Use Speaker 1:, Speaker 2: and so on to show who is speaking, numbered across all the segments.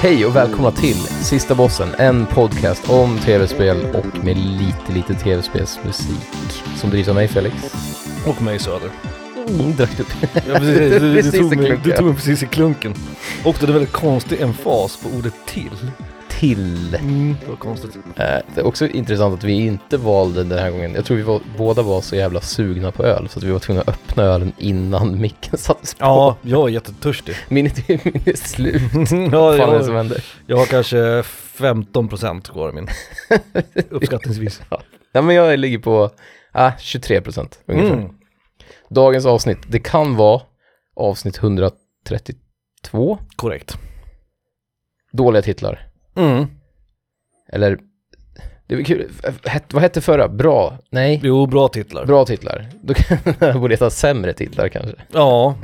Speaker 1: Hej och välkomna till Sista Bossen, en podcast om tv-spel och med lite, lite tv-spelsmusik. Som drivs av mig, Felix.
Speaker 2: Och mig Söder.
Speaker 1: Mm, drack du?
Speaker 2: Ja, precis, du, du,
Speaker 1: Precis i
Speaker 2: tog mig, du
Speaker 1: klunken.
Speaker 2: tog mig precis i klunken. Och det är väldigt konstig emfas på ordet till.
Speaker 1: Till.
Speaker 2: Mm, det var konstigt.
Speaker 1: Eh, det är också intressant att vi inte valde den här gången. Jag tror vi var, båda var så jävla sugna på öl så att vi var tvungna att öppna ölen innan micken sattes på.
Speaker 2: Ja, jag är jättetörstig.
Speaker 1: Min idé min är slut.
Speaker 2: ja,
Speaker 1: Vad fan är det som
Speaker 2: jag,
Speaker 1: händer?
Speaker 2: jag har kanske 15% kvar av min. Uppskattningsvis.
Speaker 1: Nej, men jag ligger på ah, 23 procent ungefär.
Speaker 2: Mm.
Speaker 1: Dagens avsnitt, det kan vara avsnitt 132.
Speaker 2: Korrekt.
Speaker 1: Dåliga titlar.
Speaker 2: Mm.
Speaker 1: Eller, det var kul. Het, vad hette förra? Bra? Nej,
Speaker 2: Jo, bra titlar.
Speaker 1: bra titlar. Då kan jag borde heta sämre titlar kanske.
Speaker 2: Ja.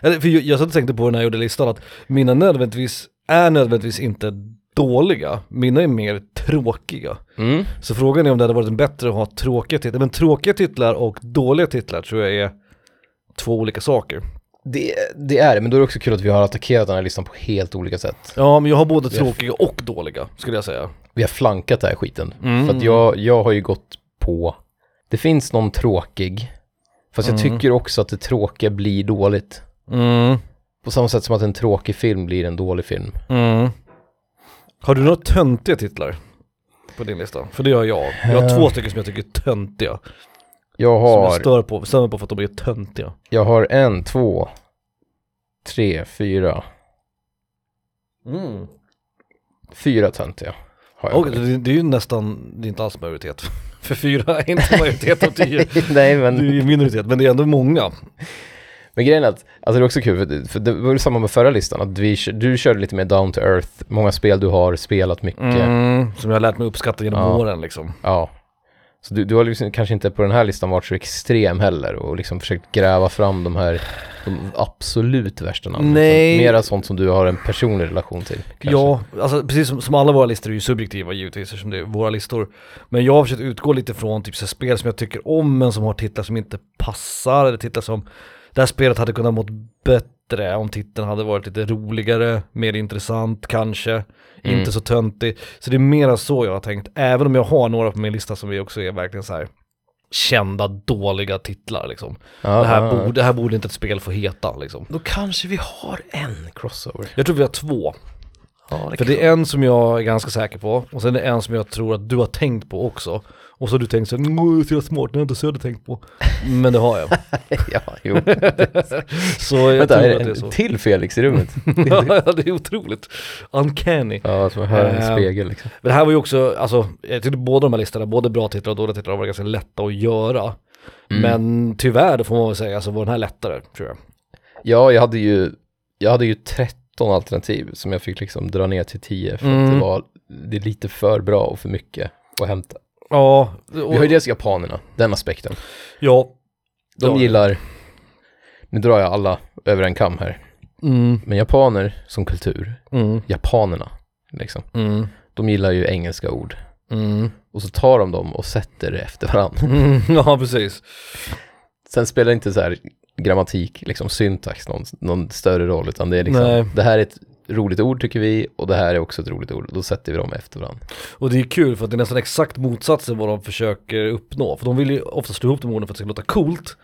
Speaker 2: Eller, för jag, jag satt och tänkte på det när jag gjorde listan att mina nödvändigtvis är nödvändigtvis inte dåliga. Mina är mer tråkiga.
Speaker 1: Mm.
Speaker 2: Så frågan är om det hade varit bättre att ha tråkiga titlar. Men tråkiga titlar och dåliga titlar tror jag är två olika saker.
Speaker 1: Det, det är det, men då är det också kul att vi har attackerat den här listan på helt olika sätt.
Speaker 2: Ja, men jag har både tråkiga och dåliga skulle jag säga.
Speaker 1: Vi har flankat den här skiten.
Speaker 2: Mm.
Speaker 1: För att jag, jag har ju gått på, det finns någon tråkig, fast jag tycker också att det tråkiga blir dåligt.
Speaker 2: Mm.
Speaker 1: På samma sätt som att en tråkig film blir en dålig film.
Speaker 2: Mm. Har du några töntiga titlar på din lista? För det har jag. Jag har
Speaker 1: Eh.
Speaker 2: två stycken som jag tycker är töntiga.
Speaker 1: Jag
Speaker 2: Som jag
Speaker 1: har,
Speaker 2: stör på, stör mig på för att de är töntiga.
Speaker 1: jag har en, två, tre, fyra,
Speaker 2: Mm.
Speaker 1: fyra töntiga. Har jag
Speaker 2: Och det, det är ju nästan, det är inte alls majoritet. För fyra är inte majoritet av tio.
Speaker 1: Nej
Speaker 2: Det är
Speaker 1: men,
Speaker 2: ju minoritet, men det är ändå många.
Speaker 1: men grejen är att, alltså det är också kul, för det, för det var ju samma med förra listan, att vi, kö- du körde lite mer down to earth, många spel du har spelat mycket,
Speaker 2: Mm, som jag har lärt mig uppskatta genom
Speaker 1: Ja.
Speaker 2: åren liksom.
Speaker 1: ja. Så du, du har liksom kanske inte på den här listan varit så extrem heller och liksom försökt gräva fram de här, de absolut värsta namnen.
Speaker 2: Nej.
Speaker 1: Mera sånt som du har en personlig relation till. kanske.
Speaker 2: Ja, alltså precis som, som alla våra listor är ju subjektiva givetvis eftersom det är våra listor. Men jag har försökt utgå lite från typ så här spel som jag tycker om men som har titlar som inte passar eller titlar som det här spelet hade kunnat mått bättre om titeln hade varit lite roligare, mer intressant kanske,
Speaker 1: Mm.
Speaker 2: inte så töntig. Så det är mera så jag har tänkt, även om jag har några på min lista som vi också är verkligen så här kända dåliga titlar liksom.
Speaker 1: Ja,
Speaker 2: det, här
Speaker 1: ja, ja.
Speaker 2: borde, det här borde inte ett spel få heta liksom.
Speaker 1: Då kanske vi har en crossover.
Speaker 2: Jag tror vi har två
Speaker 1: Ja, det
Speaker 2: För
Speaker 1: kan-
Speaker 2: det är en som jag är ganska säker på och sen är det en som jag tror att du har tänkt på också. Och så har du tänkt så här, "Nå, så jävla smart, den har inte Söder tänkt på. Men det har jag.
Speaker 1: ja, jo.
Speaker 2: Så jag
Speaker 1: Vänta,
Speaker 2: tror
Speaker 1: är
Speaker 2: att det
Speaker 1: det
Speaker 2: är så.
Speaker 1: en till Felix i rummet?
Speaker 2: ja, det är otroligt. Uncanny.
Speaker 1: ja, som hör en
Speaker 2: Ehm.
Speaker 1: spegel liksom.
Speaker 2: Men det här var ju också, alltså, jag tyckte båda de här listorna, både bra titlar och dåliga titlar, var ganska lätta att göra.
Speaker 1: Mm.
Speaker 2: Mm. Men tyvärr, då får man väl säga, så var den här lättare, tror jag.
Speaker 1: Ja, jag hade ju, jag hade ju 13 alternativ som jag fick liksom dra ner till 10 för att
Speaker 2: Mm.
Speaker 1: det var det är lite för bra och för mycket att hämta.
Speaker 2: Ja,
Speaker 1: Vi har ju
Speaker 2: och,
Speaker 1: dels japanerna, den aspekten.
Speaker 2: ja.
Speaker 1: De
Speaker 2: Ja.
Speaker 1: gillar, nu drar jag alla över en kam här,
Speaker 2: Mm,
Speaker 1: men japaner som kultur,
Speaker 2: mm,
Speaker 1: japanerna, liksom,
Speaker 2: mm,
Speaker 1: de gillar ju engelska ord.
Speaker 2: mm.
Speaker 1: Och så tar de dem och sätter det efter varandra.
Speaker 2: mm. Ja, precis.
Speaker 1: Sen spelar inte så här grammatik, liksom syntax någon, någon större roll, utan det är liksom,
Speaker 2: Nej.
Speaker 1: det här är ett roligt ord tycker vi och det här är också ett roligt ord, då sätter vi dem efter varandra.
Speaker 2: Och det är kul för att det är nästan exakt motsatsen vad de försöker uppnå. För de vill ju ofta slå ihop de orden för att det ska låta coolt.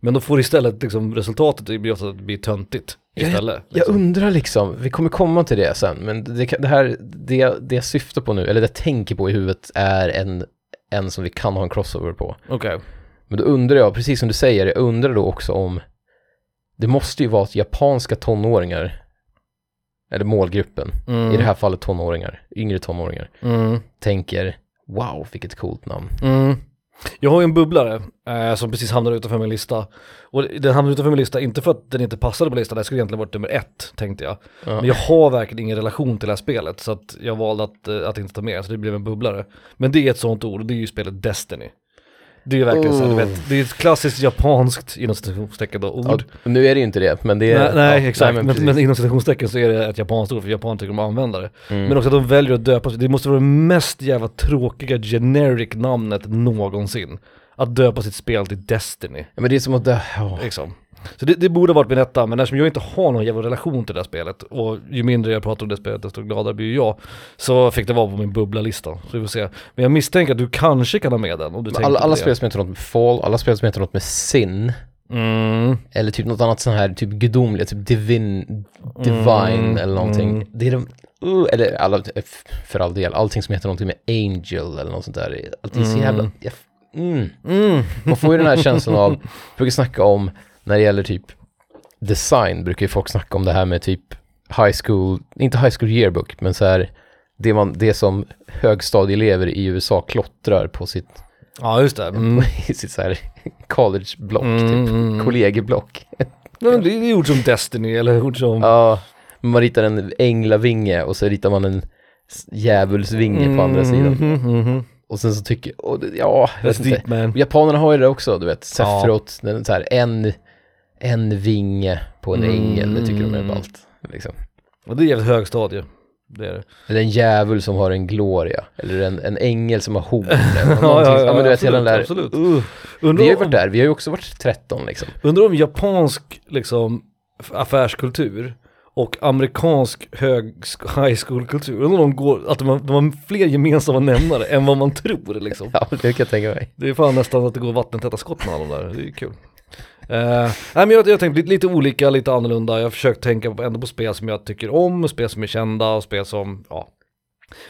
Speaker 2: Men då får istället liksom resultatet det blir ofta att det blir töntigt istället.
Speaker 1: Jag
Speaker 2: liksom.
Speaker 1: undrar liksom, vi kommer komma till det sen, men det, kan- det här, det, det jag syftar på nu, eller det jag tänker på i huvudet är en, en som vi kan ha en crossover på.
Speaker 2: Okej.
Speaker 1: Men då undrar jag, precis som du säger, jag undrar då också om, det måste ju vara att japanska tonåringar, eller målgruppen,
Speaker 2: Mm.
Speaker 1: i det här fallet tonåringar, yngre tonåringar,
Speaker 2: Mm.
Speaker 1: tänker wow, vilket coolt namn.
Speaker 2: Mm. Jag har ju en bubblare eh, som precis hamnade utanför min lista. Och den hamnade utanför min lista inte för att den inte passade på listan, det skulle egentligen varit nummer ett tänkte jag.
Speaker 1: Ja.
Speaker 2: Men jag har verkligen ingen relation till det här spelet så att jag valde att, eh, att inte ta med så det blev en bubblare. Men det är ett sånt ord och det är ju spelet Destiny. Det är ju verkligen så här, du vet, det är ett klassiskt japanskt inom citationstecken då,
Speaker 1: Oh. Ja,
Speaker 2: ord.
Speaker 1: nu är det ju inte det, men det är...
Speaker 2: nej, nej
Speaker 1: ja,
Speaker 2: exakt,
Speaker 1: nej,
Speaker 2: men, men,
Speaker 1: precis.
Speaker 2: inom citationstecken så är det ett japanskt ord för japaner tycker om att använda det.
Speaker 1: Mm.
Speaker 2: Men också att de väljer att döpa sig, det måste vara det mest jävla tråkiga generic namnet någonsin. Att döpa sitt spel till Destiny,
Speaker 1: Ja, men det är som att... Det, ja.
Speaker 2: liksom. Så det, det borde ha varit min etta, men eftersom jag inte har någon jävla relation till det här spelet och ju mindre jag pratar om det spelet desto gladare blir jag. Så fick det vara på min bubblalista, så vi får se. Men jag misstänker att du kanske kan ha med den om du tänker
Speaker 1: Alla,
Speaker 2: på
Speaker 1: alla
Speaker 2: det.
Speaker 1: spel som heter något med Fall, alla spel som heter något med Sin,
Speaker 2: Mm.
Speaker 1: eller typ något annat sån här typ gudomliga, typ Divin, Divine
Speaker 2: Mm,
Speaker 1: eller någonting.
Speaker 2: mm.
Speaker 1: Det är de, uh, eller alla, f- för all del, allting som heter någonting med Angel eller något sånt där. Allt är så jävla... jag f- Mm.
Speaker 2: Mm.
Speaker 1: Man får ju den här känslan av, vi brukar snacka om, när det gäller typ design, brukar ju folk snacka om det här med typ high school, inte high school yearbook, men så här, det, man, det som högstadieelever i USA klottrar på sitt,
Speaker 2: Ja just det. Mm.
Speaker 1: i sitt så här collegeblock,
Speaker 2: Mm,
Speaker 1: typ,
Speaker 2: mm.
Speaker 1: kollegieblock.
Speaker 2: Nej, men det det är ord som Destiny eller ord som...
Speaker 1: Ja, man ritar en änglavinge och så ritar man en s- djävulsvinge på andra sidan.
Speaker 2: Mm, mm, mm.
Speaker 1: Och sen så tycker, och, det- ja, jag vet
Speaker 2: That's
Speaker 1: inte.
Speaker 2: deep man.
Speaker 1: Japanerna har ju det också, du vet.
Speaker 2: Ja.
Speaker 1: Sefrot, den, så här, en, en vinge på en
Speaker 2: Mm.
Speaker 1: ängel, det tycker de är ballt. Liksom.
Speaker 2: Och det är jävligt högstadie. Det är det.
Speaker 1: Eller en djävul som har en gloria, eller en, en ängel som har horn. Eller
Speaker 2: Ja,
Speaker 1: någonting-
Speaker 2: ja, ja,
Speaker 1: men du vet,
Speaker 2: absolut,
Speaker 1: hela den där,
Speaker 2: absolut.
Speaker 1: Uh, vi
Speaker 2: Undrar,
Speaker 1: har ju varit
Speaker 2: om,
Speaker 1: där, vi har ju också varit 13 liksom.
Speaker 2: undrar om japansk liksom, f- affärskultur och amerikansk hög high school-kultur, undrar om de, går, att de, har, de har fler gemensamma nämnare än vad man tror liksom.
Speaker 1: Ja, det kan jag tänka mig.
Speaker 2: Det är fan nästan att det går vattentäta skott mellan de där, det är ju kul. Eh, nej men jag, jag tänkte lite, lite olika, lite annorlunda, jag har försökt tänka på, ändå på spel som jag tycker om, spel som är kända och spel som, ja.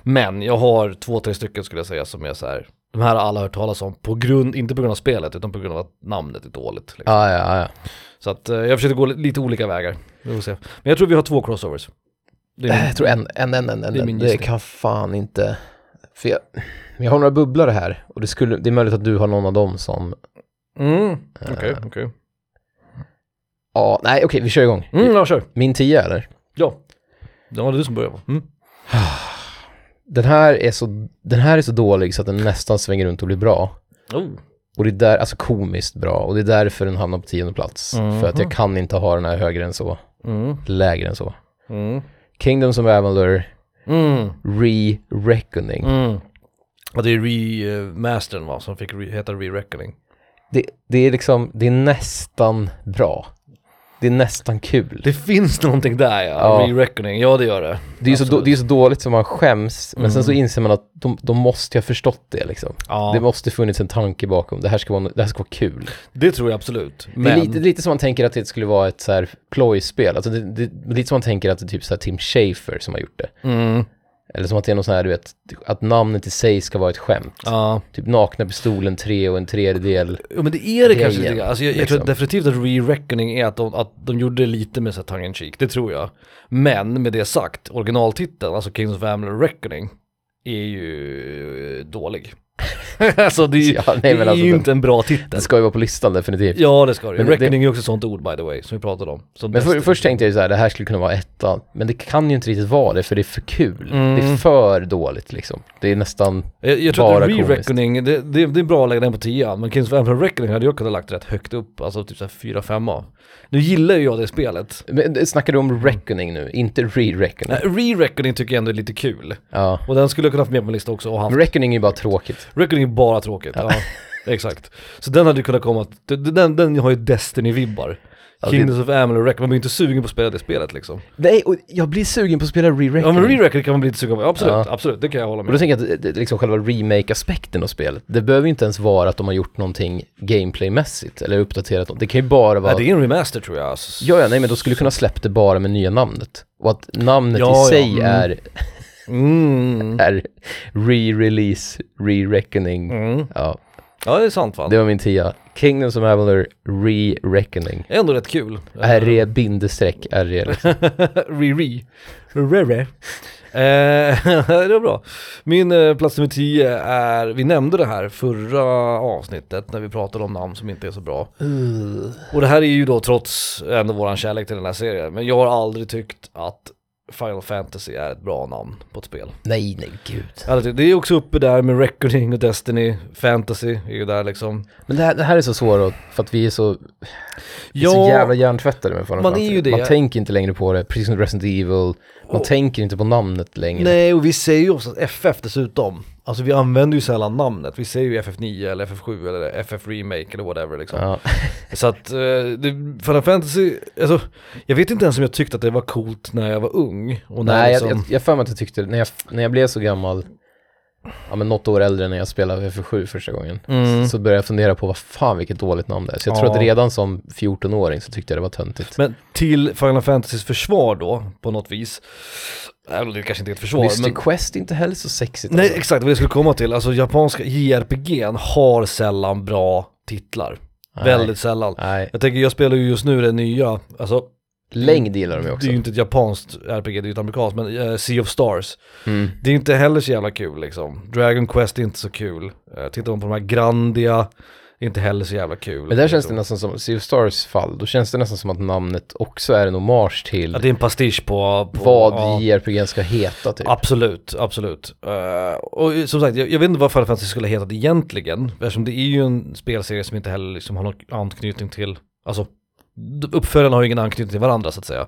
Speaker 2: Men jag har två, tre stycken skulle jag säga som är så här, de här har alla hört talas om, på grund, inte på grund av spelet utan på grund av att namnet är dåligt. Liksom.
Speaker 1: Ja, ja, ja.
Speaker 2: Så att eh, jag försökte gå li- lite olika vägar, vi får se. Men jag tror vi har två crossovers. Det är-
Speaker 1: Äh, Jag tror en, en, en, en, en,
Speaker 2: Det är
Speaker 1: en.
Speaker 2: min
Speaker 1: det
Speaker 2: gissning.
Speaker 1: kan fan inte. För jag, jag har några bubblare här och det, skulle, det är möjligt att du har någon av dem som, eh,
Speaker 2: Mm, okej, okej.
Speaker 1: ja, nej okej, vi kör igång.
Speaker 2: Mm, ja, kör.
Speaker 1: Min 10 eller?
Speaker 2: Ja. Ja, det är du som börjar va? Mm.
Speaker 1: Den här, är så, den här är så dålig så att den nästan svänger runt och blir bra.
Speaker 2: Oh.
Speaker 1: Och det är där, alltså komiskt bra, och det är därför den hamnar på tionde plats. För att jag kan inte ha den här högre än så,
Speaker 2: Mm.
Speaker 1: lägre än så.
Speaker 2: Mm.
Speaker 1: Kingdoms of Amalur,
Speaker 2: Mm.
Speaker 1: Re-Reckoning.
Speaker 2: Mm. Och det är remastern va, som fick re- heta Re-Reckoning.
Speaker 1: Det, det är liksom, det är nästan bra. Det är nästan kul.
Speaker 2: Det finns någonting där ja,
Speaker 1: Ja.
Speaker 2: Re-Reckoning, ja det gör det.
Speaker 1: Det är ju så, då,
Speaker 2: Absolut.
Speaker 1: det är så dåligt som man skäms, men sen så
Speaker 2: Mm.
Speaker 1: inser man att de, de måste ju ha förstått det liksom.
Speaker 2: Ja,
Speaker 1: Det
Speaker 2: det,
Speaker 1: måste funnits en tanke bakom, det här ska vara, det här ska vara kul.
Speaker 2: tror jag absolut. Men,
Speaker 1: Det är lite, lite som man tänker att det skulle vara ett så här plojspel, alltså det, det, det är lite som man tänker att det är typ så här Tim Schafer som har gjort det.
Speaker 2: mm,
Speaker 1: Eller som att det är någon sån här, du vet, att namnet i sig ska vara ett skämt.
Speaker 2: ja.
Speaker 1: Typ nakna pistolen 3 och en tredjedel.
Speaker 2: ja, men det är det kanske lite
Speaker 1: Grejen,
Speaker 2: grann. Alltså, jag, jag
Speaker 1: liksom.
Speaker 2: tror definitivt att Re-Reckoning är att de, att de gjorde lite med så här tongue in cheek, det tror jag. Men med det sagt, originaltiteln, alltså Kings of Amalur Reckoning, är ju eh, dålig. alltså det är, ju-
Speaker 1: Ja, nej, men
Speaker 2: det är
Speaker 1: alltså
Speaker 2: ju
Speaker 1: den-
Speaker 2: inte en bra titel.
Speaker 1: Det ska ju vara på listan definitivt.
Speaker 2: Ja det ska det
Speaker 1: Men
Speaker 2: ju.
Speaker 1: det-
Speaker 2: Reckoning är också ett sånt ord by the way, som vi pratade om. Som
Speaker 1: Men för,
Speaker 2: Destiny.
Speaker 1: först tänkte jag ju så här, det här skulle kunna vara ettan. Men det kan ju inte riktigt vara det, för det är för kul.
Speaker 2: Mm.
Speaker 1: Det är för dåligt liksom. Det är nästan,
Speaker 2: jag, jag tror
Speaker 1: bara
Speaker 2: att Re-Reckoning,
Speaker 1: komiskt.
Speaker 2: det, det, det är bra att lägga den på 10 men Kings of Emperor Reckoning hade jag kunnat lagt rätt högt upp, alltså typ såhär 4-5 av. Nu gillar ju jag det spelet.
Speaker 1: men det- snackar du om reckoning nu, inte re-reckoning?
Speaker 2: Nej, Re-Reckoning tycker jag ändå är lite kul.
Speaker 1: Ja.
Speaker 2: Och den skulle jag kunna få med på min lista också och haft.
Speaker 1: Men reckoning är ju bara tråkigt.
Speaker 2: Reckoning är bara tråkigt, ja. Exakt. Så den hade ju kunnat komma, d- d- den, den har ju Destiny-vibbar.
Speaker 1: Ja, det-
Speaker 2: Kings of Amalur Reckoning, man blir ju inte sugen på att spela det spelet liksom.
Speaker 1: Nej, och jag blir sugen på att spela re-reckoning.
Speaker 2: Ja men Re-Reckoning kan man bli lite sugen på, absolut,
Speaker 1: Ja.
Speaker 2: absolut, det kan jag hålla
Speaker 1: och
Speaker 2: med
Speaker 1: då
Speaker 2: om.
Speaker 1: tänker jag att det- det- liksom själva remake-aspekten av spelet, det behöver ju inte ens vara att de har gjort någonting gameplaymässigt eller uppdaterat något. Det kan ju bara vara
Speaker 2: Nej, det är en remaster tror jag. alltså.
Speaker 1: Ja, ja, nej, men då skulle du kunna släppt det bara med nya namnet. Och att namnet
Speaker 2: Ja,
Speaker 1: i
Speaker 2: ja,
Speaker 1: sig
Speaker 2: mm.
Speaker 1: är,
Speaker 2: Mm.
Speaker 1: är re-release, re-reckoning.
Speaker 2: Mm.
Speaker 1: Ja,
Speaker 2: Ja det är sant va?
Speaker 1: det var min tia. Kingdoms of Avalor, re-reckoning.
Speaker 2: Ändå rätt kul.
Speaker 1: RE bindestreck RE. liksom.
Speaker 2: Re-re. Re-re. Eh, det var bra. Min eh, plats nummer 10 är, vi nämnde det här förra avsnittet när vi pratade om namn som inte är så bra.
Speaker 1: Uh.
Speaker 2: Och det här är ju då trots ändå våran kärlek till den här serien, men jag har aldrig tyckt att Final Fantasy är ett bra namn på ett spel.
Speaker 1: Nej, nej, gud.
Speaker 2: Jag har aldrig tyckt- Det är också uppe där med Reckoning och Destiny, Fantasy är ju där liksom.
Speaker 1: Men det här, det här är så svårt att- för att vi är så, vi är
Speaker 2: Ja.
Speaker 1: så jävla hjärntvättade med Final
Speaker 2: Man är
Speaker 1: Fantasy.
Speaker 2: ju det.
Speaker 1: Man tänker inte längre på det, precis som Resident Evil. Man
Speaker 2: Och-
Speaker 1: tänker inte på namnet längre.
Speaker 2: Nej, och vi säger ju också FF dessutom. Alltså vi använder ju sällan namnet, vi säger ju FF9 eller FF7 eller FF Remake eller whatever liksom.
Speaker 1: Ja.
Speaker 2: Så att, eh, det, Final Fantasy, alltså, jag vet inte ens om jag tyckte att det var coolt när jag var ung. Och när
Speaker 1: Nej, jag,
Speaker 2: liksom,
Speaker 1: jag, jag för mig att jag tyckte, när jag, när jag blev så gammal, ja men något år äldre när jag spelade FF7 första gången,
Speaker 2: Mm.
Speaker 1: så började jag fundera på vad fan vilket dåligt namn det är. Så jag tror
Speaker 2: Ja.
Speaker 1: att redan som 14-åring så tyckte jag det var töntigt.
Speaker 2: Men till Final Fantasys försvar då, på något vis. Även om det kanske inte är ett försvar.
Speaker 1: Mystic
Speaker 2: men,
Speaker 1: Quest är inte heller så sexigt.
Speaker 2: nej,
Speaker 1: alltså.
Speaker 2: exakt vad jag skulle komma till. Alltså japanska JRPG har sällan bra titlar.
Speaker 1: Nej.
Speaker 2: Väldigt sällan.
Speaker 1: Nej,
Speaker 2: Jag tänker, jag spelar ju just nu det nya, alltså
Speaker 1: längd gillar de ju
Speaker 2: det
Speaker 1: också.
Speaker 2: är ju inte ett japanskt RPG, det är ju ett amerikanskt, men eh, Sea of Stars.
Speaker 1: Mm.
Speaker 2: Det är inte heller så jävla kul liksom. Dragon Quest är inte så kul. Eh, tittar man på de här Grandia, det är inte heller så jävla kul.
Speaker 1: Men där känns det nästan som, Sea of Stars fall, då känns det nästan som att namnet också är en hommage till
Speaker 2: Ja, det är en pastisch på... på
Speaker 1: vad
Speaker 2: ja.
Speaker 1: JRPG ska heta typ.
Speaker 2: Absolut, absolut. Eh, och som sagt, jag, jag vet inte vad Final Fantasy skulle ha hetat egentligen. Eftersom det är ju en spelserie som inte heller liksom har någon anknytning till, alltså d- uppföljarna har ju ingen anknytning till varandra så att säga.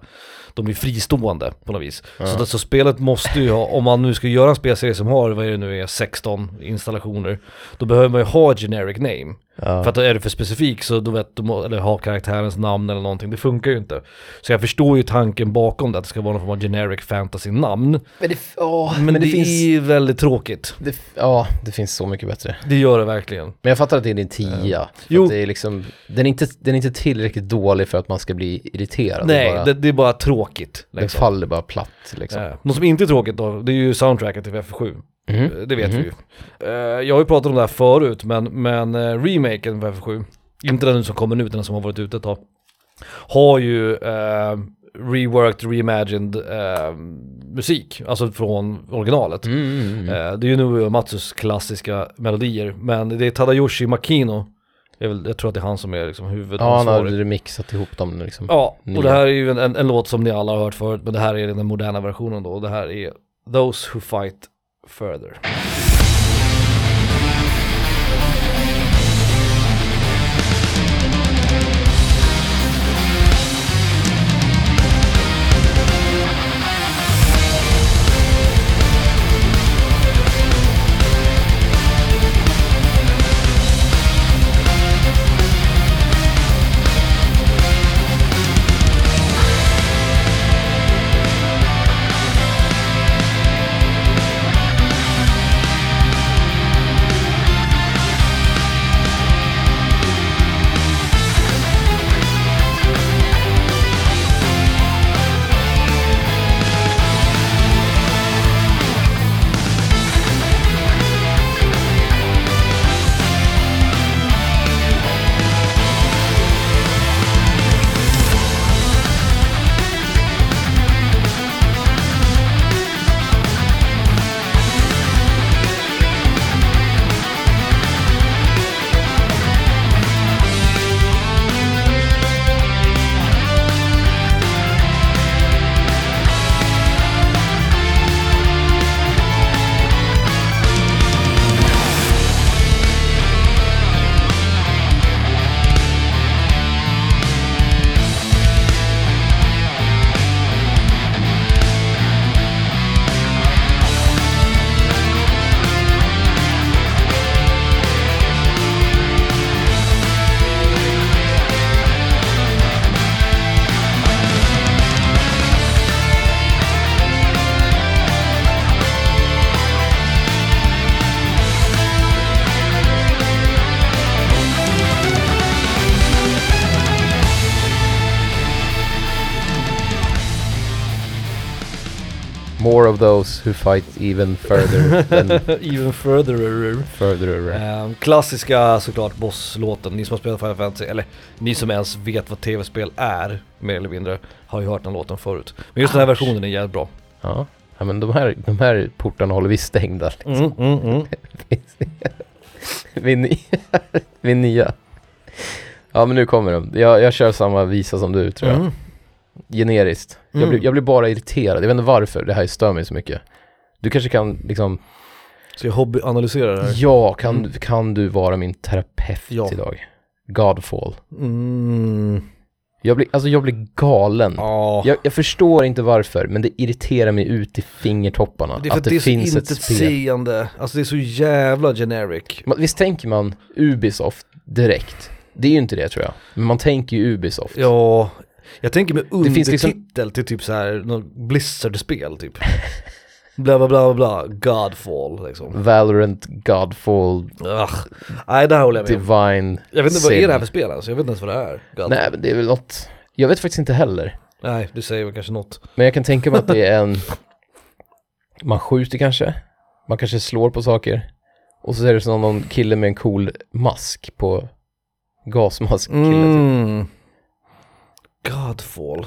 Speaker 2: De är fristående på något vis. Så, att- så spelet måste ju ha, om man nu ska göra en spelserie som har, vad är det nu är, 16 installationer, då behöver man ju ha ett generic name.
Speaker 1: Ja.
Speaker 2: För att är du för specifik så då vet du, eller har karaktärens namn eller någonting, det funkar ju inte. Så jag förstår ju tanken bakom det, att det ska vara någon form av generic fantasy-namn.
Speaker 1: Men det, åh,
Speaker 2: Men, det, är väldigt tråkigt.
Speaker 1: det, ja, det finns så mycket bättre.
Speaker 2: Det gör det verkligen.
Speaker 1: Men jag fattar att det är din tia.
Speaker 2: Jo.
Speaker 1: Jo. Att det är liksom, den, är inte, den är inte tillräckligt dålig för att man ska bli irriterad.
Speaker 2: Nej,
Speaker 1: bara,
Speaker 2: det, det är bara tråkigt.
Speaker 1: den
Speaker 2: Liksom.
Speaker 1: faller bara platt liksom.
Speaker 2: Eh, Något som inte är tråkigt då, det är ju soundtracket till FF7.
Speaker 1: Mhm.
Speaker 2: Eh, Det vet vi ju. Eh, Jag har ju pratat om det här förut, men, men eh, remaken på FF7, inte den som kommer nu, utan den som har varit ute ett tag, har ju eh, reworked, reimagined eh, musik, alltså från originalet.
Speaker 1: Mm, mm, mm.
Speaker 2: Eh, Det är ju nu Matsus klassiska melodier, men det är Tadayoshi Makino, jag, vill, jag tror att det är han som är liksom
Speaker 1: Ja, han
Speaker 2: huvudansvarig.
Speaker 1: har remixat ihop dem nu, liksom.
Speaker 2: Ja,
Speaker 1: Nya.
Speaker 2: och det här är ju en, en, en låt som ni alla har hört förut, men det här är den moderna versionen då. Och det här är Those Who Fight Further.
Speaker 1: More of those who fight even further than
Speaker 2: Even Further.
Speaker 1: further.
Speaker 2: Ehm, klassiska såklart bosslåten, ni som har spelat Final Fantasy, eller ni som ens vet vad tv-spel är, mer eller mindre, har ju hört den låten förut. Men just den här versionen är jävligt bra.
Speaker 1: Ja. ja, men de här, de här portarna håller vi stängda.
Speaker 2: Mm, mm, mm.
Speaker 1: Min, ny- min nya. Ja, men nu kommer de. Jag, jag kör samma visa som du, tror jag.
Speaker 2: Mm.
Speaker 1: generiskt.
Speaker 2: Mm.
Speaker 1: Jag, blir, jag blir bara irriterad, jag vet inte varför det här stör mig så mycket. Du kanske kan, liksom,
Speaker 2: Ska jag hobbyanalysera det här?
Speaker 1: ja, kan,
Speaker 2: Mm.
Speaker 1: kan du vara min terapeut
Speaker 2: Ja.
Speaker 1: idag? Godfall.
Speaker 2: Mm.
Speaker 1: Jag blir, alltså jag blir galen.
Speaker 2: Ja.
Speaker 1: Jag, jag förstår inte varför, men det irriterar mig ut i fingertopparna.
Speaker 2: Det är för
Speaker 1: att det, finns
Speaker 2: så
Speaker 1: ett spel.
Speaker 2: intetsägande. Alltså det är så jävla generic.
Speaker 1: Typ. Man, visst tänker man Ubisoft direkt? Det är ju inte det tror jag. Men man tänker ju Ubisoft.
Speaker 2: Ja, jag tänker med
Speaker 1: Det finns
Speaker 2: undertitel
Speaker 1: liksom-
Speaker 2: till typ så här någon Blizzard-spel typ. Bla bla bla bla, Godfall liksom.
Speaker 1: Valorant, Godfall,
Speaker 2: Ugh. Nej det här håller jag med om.
Speaker 1: Divine,
Speaker 2: Jag vet inte vad
Speaker 1: Sim.
Speaker 2: är det här för spel alltså? Jag vet inte ens vad det är. Godfall.
Speaker 1: Nej men det är väl något, jag vet faktiskt inte heller.
Speaker 2: Nej, du säger väl kanske något.
Speaker 1: Men jag kan tänka mig att det är en, man skjuter kanske, man kanske slår på saker. Och så är det som någon kille med en cool mask på, gasmask kille typ.
Speaker 2: Mm. Godfall.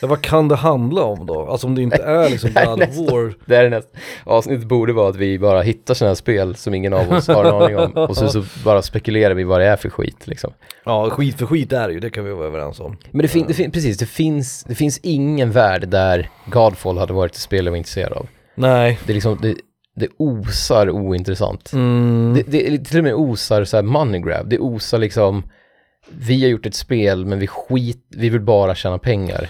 Speaker 2: Ja, vad kan det handla om då? Alltså om det inte är liksom
Speaker 1: det här är
Speaker 2: God
Speaker 1: nästan-
Speaker 2: War.
Speaker 1: Det här är nästa avsnitt borde vara att vi bara hittar sådana här spel som ingen av oss har en aning om. Och så, så bara spekulerar vi vad det är för skit liksom.
Speaker 2: Ja, skit för skit är det ju, det kan vi vara överens om.
Speaker 1: Men det, fin- det, fin- precis, det, finns, det finns ingen värld där Godfall hade varit ett spel jag var intresserad av.
Speaker 2: Nej.
Speaker 1: Det, är liksom, det, det osar ointressant.
Speaker 2: Mm.
Speaker 1: Det, det är till och med osar så här money grab. Det osar liksom, vi har gjort ett spel men vi skit, vi vill bara tjäna pengar.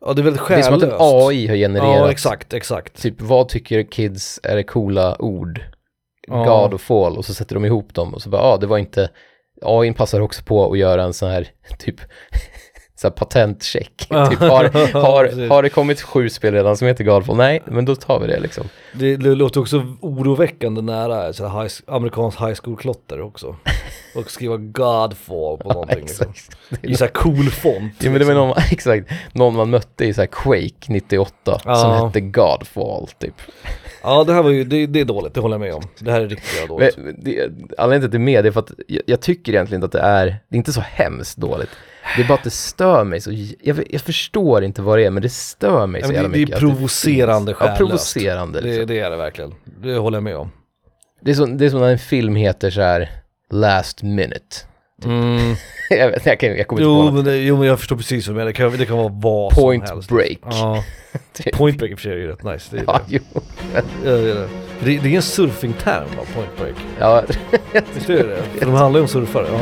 Speaker 2: ja, det är väldigt
Speaker 1: Det är som att
Speaker 2: själlöst.
Speaker 1: en AI har genererat,
Speaker 2: Ja, exakt, exakt.
Speaker 1: typ vad tycker kids är coola ord?
Speaker 2: Ja.
Speaker 1: God och Fall och så sätter de ihop dem och så bara, ja ah, det var inte, AIn passar också på att göra en sån här typ så här patentcheck. typ, har, har,
Speaker 2: Precis.
Speaker 1: har det kommit sju spel redan som heter Godfall? Nej, men då tar vi det liksom.
Speaker 2: Det det låter också oroväckande nära så här high, amerikansk high school-klotter också. Och skriva Godfall på någonting liksom.
Speaker 1: exakt.
Speaker 2: I så här cool font. liksom.
Speaker 1: Ja, men det var någon, exakt, någon man mötte i så här Quake 98 som
Speaker 2: Ja.
Speaker 1: hette Godfall typ.
Speaker 2: Ja, det här var ju, det, det är dåligt, det håller jag med om. Det här är riktigt jävla dåligt.
Speaker 1: Men det, anledningen till att det är med det är för att jag, jag tycker egentligen inte att det är, det är inte så hemskt dåligt. Det är bara att det stör mig så, j- jag, jag förstår inte vad det är men det stör mig
Speaker 2: Ja,
Speaker 1: så
Speaker 2: men det,
Speaker 1: jävla
Speaker 2: det
Speaker 1: mycket.
Speaker 2: är
Speaker 1: att det
Speaker 2: provocerande
Speaker 1: finns. Ja,
Speaker 2: själlöst.
Speaker 1: provocerande. Liksom.
Speaker 2: Det, det är det verkligen. Det håller jag med om.
Speaker 1: Det är, som, det är som när en film heter så här Last minute.
Speaker 2: Mm.
Speaker 1: jag, vet, jag, kan, jag kommer inte
Speaker 2: Jo,
Speaker 1: på något.
Speaker 2: men det, jo, men jag förstår precis vad du menar. Det kan, det kan vara vad
Speaker 1: Point
Speaker 2: som helst.
Speaker 1: break.
Speaker 2: Ja.
Speaker 1: Typ.
Speaker 2: Point break i och för sig är ju rätt nice. Det är,
Speaker 1: Ja, jo.
Speaker 2: det. Det, är det. För det, det är en surfingterm va, point break?
Speaker 1: Ja,
Speaker 2: Visst är det det? För de handlar ju om surfare. Ja.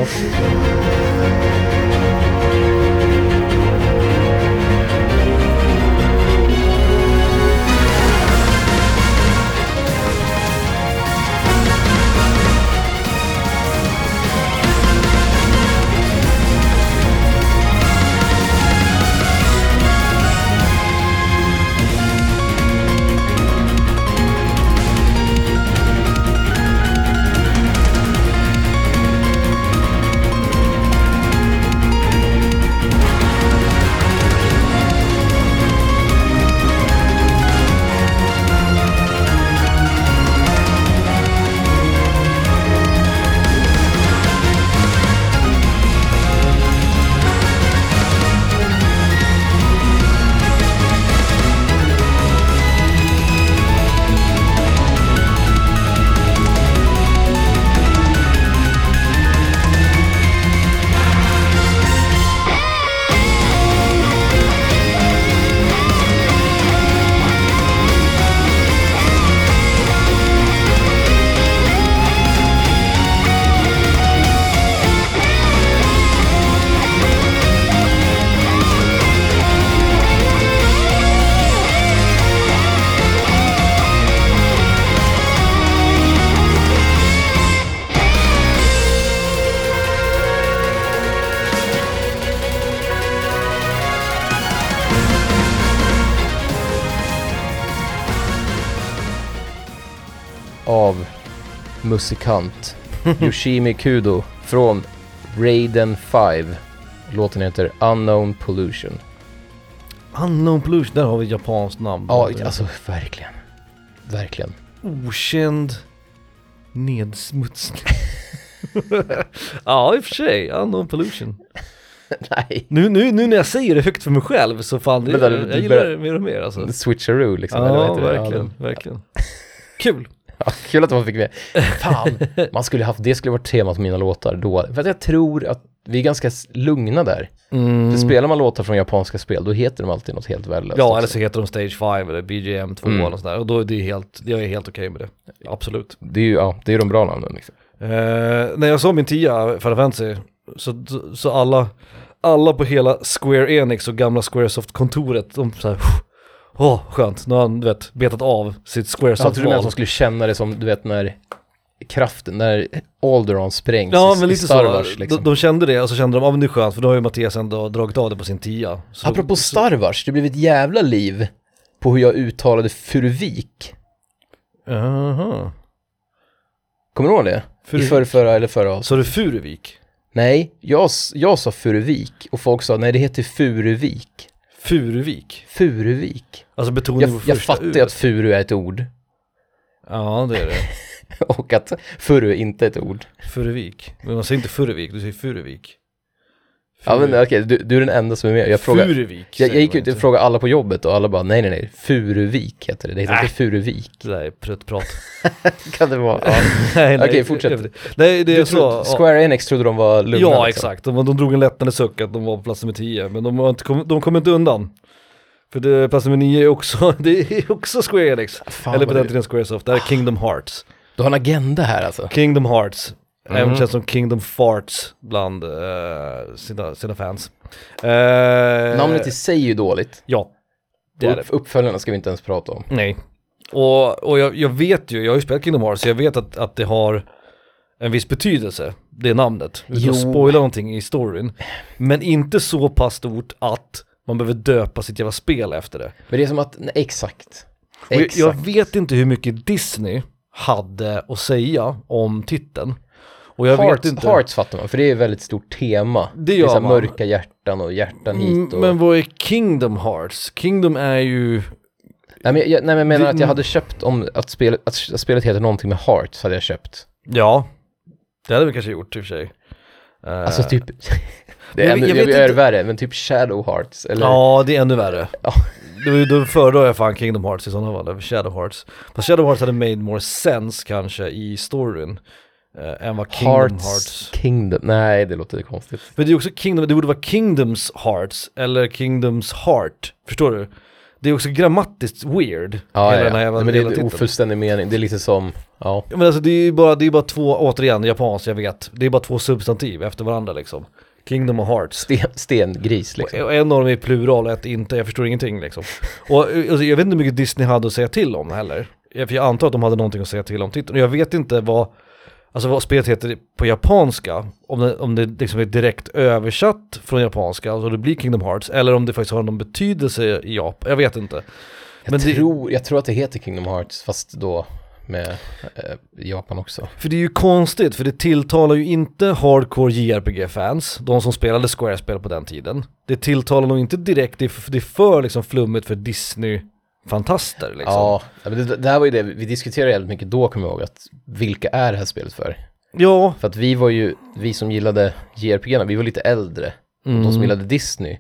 Speaker 1: av musikant Yoshimi Kudo från Raiden 5. Låten heter Unknown Pollution.
Speaker 2: Unknown pollution, där har vi ett japanskt namn.
Speaker 1: Ja, alltså verkligen. Verkligen.
Speaker 2: Okänd nedsmutsning. ja, i och för sig. Unknown pollution.
Speaker 1: Nej.
Speaker 2: Nu, nu, nu när jag säger det högt för mig själv så fan, det,
Speaker 1: Vänta, du- du
Speaker 2: jag gillar
Speaker 1: börjar-
Speaker 2: det mer och mer alltså.
Speaker 1: Switcheroo liksom. eller vad
Speaker 2: Ja,
Speaker 1: heter det?
Speaker 2: verkligen,
Speaker 1: den-
Speaker 2: verkligen. Kul.
Speaker 1: Ja, kul att man fick med. Fan, man skulle haft, det skulle varit temat på mina låtar då. För att jag tror att vi är ganska s- lugna där. För spelar man låtar från japanska spel, då heter de alltid något helt värdelöst.
Speaker 2: Mm. Ja,
Speaker 1: också.
Speaker 2: eller så heter de Stage 5 eller BGM 2
Speaker 1: Mm.
Speaker 2: eller och sådär. Och då är det helt, jag är helt okej med det. Absolut.
Speaker 1: Det är ju ja, det är de bra namnen liksom.
Speaker 2: Eh, när jag såg min tia, Final Fantasy, så, så alla, alla på hela Square Enix och gamla Squaresoft-kontoret, de såhär, åh skönt, nu har han du vet, betat av sitt
Speaker 1: Jag trodde du menade att
Speaker 2: Squaresoft-val.
Speaker 1: de skulle känna det som, du vet när kraften, när Alderon sprängs
Speaker 2: Ja
Speaker 1: i,
Speaker 2: men
Speaker 1: i
Speaker 2: lite
Speaker 1: Star Wars
Speaker 2: så,
Speaker 1: liksom.
Speaker 2: de, de kände det och så kände de, ja men det är skönt för då har ju Mattias ändå dragit av det på sin tia. Så,
Speaker 1: Apropå Star Wars, det blev ett jävla liv på hur jag uttalade Furuvik.
Speaker 2: Jaha.
Speaker 1: Kommer du ihåg det? I
Speaker 2: Furuvik.
Speaker 1: förra, förra eller förra avsnittet.
Speaker 2: Så du Furuvik?
Speaker 1: Nej, jag, s- jag sa Furuvik och folk sa nej det heter Furuvik.
Speaker 2: Furuvik?
Speaker 1: Furuvik.
Speaker 2: Alltså betoning
Speaker 1: Jag,
Speaker 2: på första
Speaker 1: jag fattar
Speaker 2: U.
Speaker 1: ju att furu är ett ord
Speaker 2: Ja det är det.
Speaker 1: och att furu är inte ett ord.
Speaker 2: Furuvik. Men man säger inte Furuvik, du säger Furuvik.
Speaker 1: Ja men okej, du, du är den enda som är med. Jag frågade,
Speaker 2: Furuvik
Speaker 1: jag,
Speaker 2: säger
Speaker 1: jag gick
Speaker 2: man
Speaker 1: ut och
Speaker 2: inte.
Speaker 1: frågade alla på jobbet och alla bara nej nej nej, Furuvik heter det, det heter
Speaker 2: Äh.
Speaker 1: inte Furuvik.
Speaker 2: Det där är pruttprat.
Speaker 1: Kan det vara? Ja.
Speaker 2: nej,
Speaker 1: Okej, fortsätt.
Speaker 2: jag- Nej det
Speaker 1: Du
Speaker 2: är så.
Speaker 1: trodde, Square Enix trodde de var lugna.
Speaker 2: Ja
Speaker 1: liksom.
Speaker 2: exakt, de, de drog en lättande suck att de var på plats nummer 10, men de, har inte kom, de kom inte undan. För det, plats nummer 9 är också, det är också Square Enix.
Speaker 1: Fan,
Speaker 2: Eller
Speaker 1: Eller
Speaker 2: på den tiden Squaresoft, det här är Kingdom Hearts.
Speaker 1: Du har en agenda här alltså.
Speaker 2: Kingdom Hearts,
Speaker 1: Mm.
Speaker 2: även känd som Kingdom Farts bland eh, sina, sina fans. Eh,
Speaker 1: Namnet i sig är ju dåligt.
Speaker 2: Ja, det är det.
Speaker 1: Upp, uppföljarna ska vi inte ens prata om.
Speaker 2: Nej. Och, och jag, jag vet ju, jag har ju spelat Kingdom Hearts, så jag vet att, att det har en viss betydelse, det namnet. Utan att
Speaker 1: Jo.
Speaker 2: spoila någonting i storyn. Men inte så pass stort att man behöver döpa sitt jävla spel efter det.
Speaker 1: Men det är som att, nej, exakt.
Speaker 2: Och jag,
Speaker 1: Exakt.
Speaker 2: jag vet inte hur mycket Disney hade att säga om titeln. Och jag
Speaker 1: Hearts,
Speaker 2: vet inte.
Speaker 1: Hearts fattar man, för det är ett väldigt stort tema.
Speaker 2: Det
Speaker 1: är
Speaker 2: gör
Speaker 1: så här
Speaker 2: man.
Speaker 1: mörka hjärtan och hjärtan hit
Speaker 2: Mm,
Speaker 1: och...
Speaker 2: Men vad är Kingdom Hearts? Kingdom är ju...
Speaker 1: nej, men jag, nej, men jag menar
Speaker 2: Det-
Speaker 1: att jag hade köpt om att spelet, att spelet heter någonting med Hearts, hade jag köpt.
Speaker 2: Ja, det hade vi kanske gjort i och för sig. Eh,
Speaker 1: Alltså typ... Det
Speaker 2: jag
Speaker 1: är
Speaker 2: vet-
Speaker 1: ännu,
Speaker 2: jag
Speaker 1: jag
Speaker 2: vet
Speaker 1: jag är
Speaker 2: inte.
Speaker 1: värre, men typ Shadow Hearts, eller?
Speaker 2: Ja, det är ännu värre.
Speaker 1: Ja.
Speaker 2: Då, då föredrar jag fan Kingdom Hearts i sådana fall, över Shadow Hearts. Fast Shadow Hearts hade made more sense kanske i storyn, eh, än vad Kingdom Hearts...
Speaker 1: Hearts, Kingdom, nej det låter konstigt.
Speaker 2: Men det är också Kingdom, det borde vara Kingdoms Hearts, eller Kingdoms Heart, förstår du? Det är också grammatiskt weird,
Speaker 1: Ja,
Speaker 2: hela
Speaker 1: ja,
Speaker 2: den här
Speaker 1: ja.
Speaker 2: jävla,
Speaker 1: Nej, men det
Speaker 2: hela
Speaker 1: är en
Speaker 2: titeln.
Speaker 1: ofullständig mening, det är lite som, ja.
Speaker 2: Ja, Men alltså det är ju bara, det är bara två, återigen, japanskt, jag vet. Det är bara två substantiv efter varandra liksom. Kingdom och Hearts.
Speaker 1: Sten, stengris liksom.
Speaker 2: Och en av dem är plural och ett inte, jag förstår ingenting liksom. Och eh, alltså, jag vet inte hur mycket Disney hade att säga till om heller. Ja, För jag antar att de hade någonting att säga till om titeln. Och jag vet inte vad, alltså vad spelet heter på japanska. Om det, om det liksom är direkt översatt från japanska, alltså det blir Kingdom Hearts. Eller om det faktiskt har någon betydelse i Japan, jag vet inte.
Speaker 1: Jag,
Speaker 2: men det-
Speaker 1: tror, jag tror att det heter Kingdom Hearts, fast då med eh, Japan också.
Speaker 2: För det är ju konstigt, för det tilltalar ju inte hardcore JRPG-fans, de som spelade Square-spel på den tiden. Det tilltalar nog inte direkt, det är för, det är för liksom flummigt för Disney-fantaster liksom.
Speaker 1: Ja, men det, det här var ju det, vi diskuterade jävligt mycket då, kommer jag ihåg, att vilka är det här spelet för?
Speaker 2: Ja.
Speaker 1: För att vi var ju, vi som gillade JRPG, vi var lite äldre.
Speaker 2: Mm.
Speaker 1: De som gillade Disney,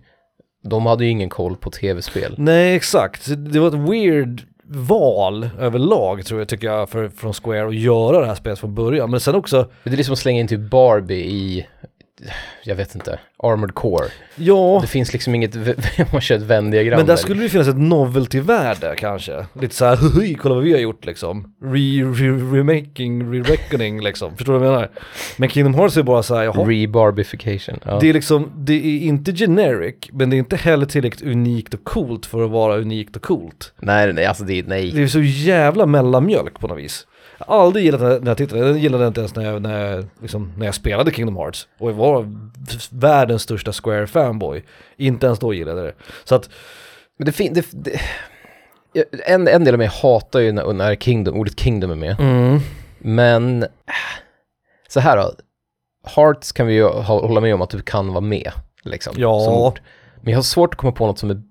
Speaker 1: de hade ju ingen koll på tv-spel.
Speaker 2: Nej, exakt. Så Det var ett weird val överlag tror jag, tycker jag, för, från Square att göra det här spelet från början. Men sen också,
Speaker 1: Men det är som att slänga in typ Barbie i, jag vet inte, Armored Core.
Speaker 2: ja,
Speaker 1: Det finns liksom inget, man kör ett Venn-diagram.
Speaker 2: men där skulle det finnas ett novelty-värde kanske. Lite så här, "Huhuj, kolla vad vi har gjort liksom. Re, re, remaking, re-reckoning liksom. Förstår du vad jag menar? Men Kingdom Hearts är bara så här, jaha.
Speaker 1: Re-barbification. Ja.
Speaker 2: Det är liksom, det är inte generic, men det är inte heller tillräckligt unikt och coolt för att vara unikt och coolt.
Speaker 1: Nej, nej, alltså det är, nej.
Speaker 2: Det är så jävla mellanmjölk på något vis. Jag har aldrig gillat den här, den här titeln, jag gillade den inte ens när jag, när, jag, liksom, när jag spelade Kingdom Hearts. Och jag var f- världens största Square-fanboy. Inte ens då gillade jag det. Så att,
Speaker 1: Men det finns... Det, det, jag- en, en del av mig hatar ju när, när Kingdom, ordet Kingdom är med. Men äh, så här då. Hearts kan vi ju ha, hålla med om att du kan vara med. Liksom,
Speaker 2: Ja.
Speaker 1: som ord. Men jag har svårt att komma på något som är,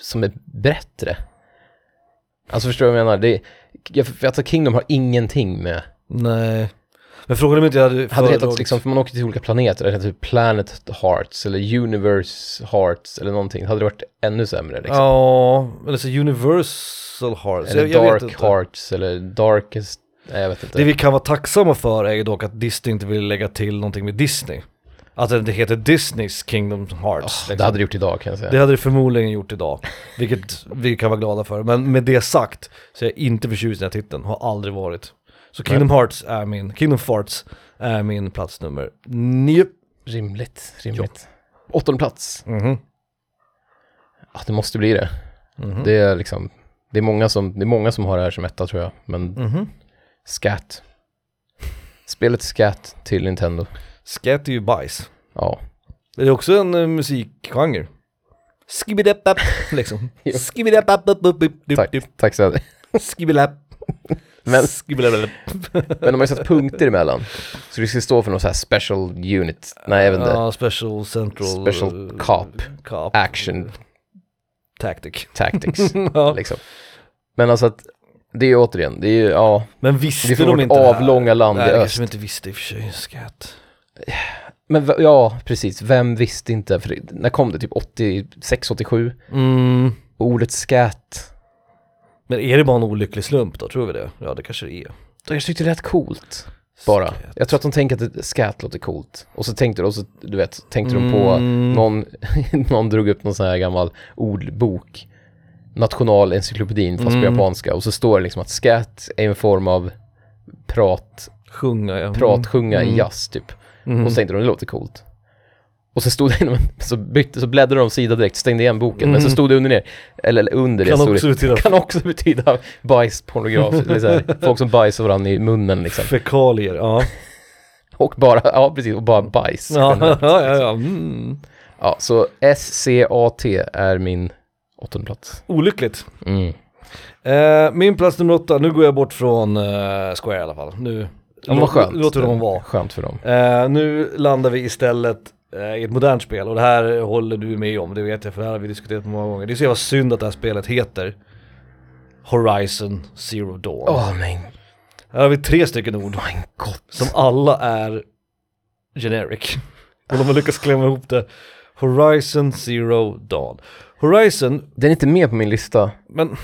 Speaker 1: som är bättre. Alltså förstår du vad jag menar? Det, är- jag, för, alltså Kingdom har ingenting med...
Speaker 2: nej. Men frågan är om inte jag hade
Speaker 1: Hade det hetat
Speaker 2: föredragit-
Speaker 1: liksom, för man åker till olika planeter, det heter typ Planet Hearts eller Universe Hearts eller någonting, hade det varit ännu sämre liksom.
Speaker 2: Ja, eller så Universal Hearts.
Speaker 1: Eller
Speaker 2: jag, jag vet
Speaker 1: Dark
Speaker 2: inte.
Speaker 1: Hearts eller Darkest, nej jag vet inte.
Speaker 2: Det vi kan vara tacksamma för är ju dock att Disney inte vill lägga till någonting med Disney. Att det inte heter Disneys Kingdom Hearts.
Speaker 1: det hade det gjort idag kan jag säga.
Speaker 2: Det hade det förmodligen gjort idag, vilket vi kan vara glada för. Men med det sagt så är jag inte förtjust i den här titeln, har aldrig varit. Så Kingdom Hearts är min, Kingdom Farts är min plats nummer nio.
Speaker 1: Rimligt, rimligt. åttonde plats.
Speaker 2: Mhm.
Speaker 1: Ja, Ah, det måste bli det.
Speaker 2: Mhm.
Speaker 1: Det är liksom, det är, många som, det är många som har det här som etta tror jag, men
Speaker 2: Mhm.
Speaker 1: Scat. Spelet Scat till Nintendo.
Speaker 2: Skat är ju bajs.
Speaker 1: Ja,
Speaker 2: Det är också en uh, musikgenre. Skibidepp, liksom.
Speaker 1: Jo.
Speaker 2: Skibidepp, upp, upp, upp, upp,
Speaker 1: tack,
Speaker 2: upp,
Speaker 1: tack så mycket.
Speaker 2: skibidepp.
Speaker 1: Men-
Speaker 2: Skibidepp.
Speaker 1: Men de har ju satt punkter emellan. Så det ska stå för någon så här special unit. Nej, jag vet inte.
Speaker 2: Ja, special central...
Speaker 1: Special
Speaker 2: eh,
Speaker 1: cop.
Speaker 2: Cop.
Speaker 1: Action
Speaker 2: Tactic.
Speaker 1: tactics,
Speaker 2: Ja.
Speaker 1: liksom. Men alltså att, det är ju återigen, det är ju, ja,
Speaker 2: Men
Speaker 1: det är
Speaker 2: visste
Speaker 1: för
Speaker 2: de
Speaker 1: vårt
Speaker 2: inte det här?
Speaker 1: avlånga land i
Speaker 2: Nej, det
Speaker 1: öst.
Speaker 2: kanske de inte visste i och för sig. Skat.
Speaker 1: Men v- ja, precis. Vem visste inte? För det- när kom det? Typ 86, 87?
Speaker 2: Mm.
Speaker 1: Ordet scat.
Speaker 2: Men är det bara en olycklig slump då? Tror vi det? Ja, det kanske det är.
Speaker 1: Då jag tyckte det lät coolt. Bara.
Speaker 2: Skat.
Speaker 1: Jag tror att de tänkte att det- scat låter coolt. Och så tänkte de, och så, du vet, tänkte de på
Speaker 2: Mm.
Speaker 1: någon, någon drog upp någon sån här gammal ordbok. Nationalencyklopedin fast på
Speaker 2: Mm.
Speaker 1: japanska. Och så står det liksom att scat är en form av prat,
Speaker 2: Sjunga, ja.
Speaker 1: pratsjunga
Speaker 2: Mm.
Speaker 1: i jazz typ.
Speaker 2: Mm.
Speaker 1: Och så tänkte de, det låter coolt. Och så stod det, inom en- så, bytte, så bläddrade de sida direkt, stängde igen boken, men så
Speaker 2: Mm.
Speaker 1: stod det under ner, eller eller under det
Speaker 2: Kan
Speaker 1: stod
Speaker 2: också
Speaker 1: det,
Speaker 2: betyda-
Speaker 1: kan också betyda bajs, pornograf, eller så här, folk som bajsar varandra i munnen liksom.
Speaker 2: Fekalier, ja.
Speaker 1: Och bara, ja precis, och bara bajs.
Speaker 2: ja, ja, ja, ja. Mm.
Speaker 1: Ja, så SCAT är min åttonde plats.
Speaker 2: Olyckligt.
Speaker 1: Mm.
Speaker 2: Eh, min plats nummer åtta, nu går jag bort från eh, Square i alla fall. Nu
Speaker 1: Det var skönt.
Speaker 2: låter de vara.
Speaker 1: Skönt för dem.
Speaker 2: Eh, nu landar vi istället eh, i ett modernt spel och det här håller du med om, det vet jag för det här har vi diskuterat många gånger. Det är så jävla synd att det här spelet heter Horizon Zero Dawn.
Speaker 1: Åh men
Speaker 2: Här har vi tre stycken ord
Speaker 1: my god.
Speaker 2: som alla är generic. Och de har lyckats klämma ihop det. Horizon Zero Dawn. Horizon,
Speaker 1: Den är inte med på min lista,
Speaker 2: men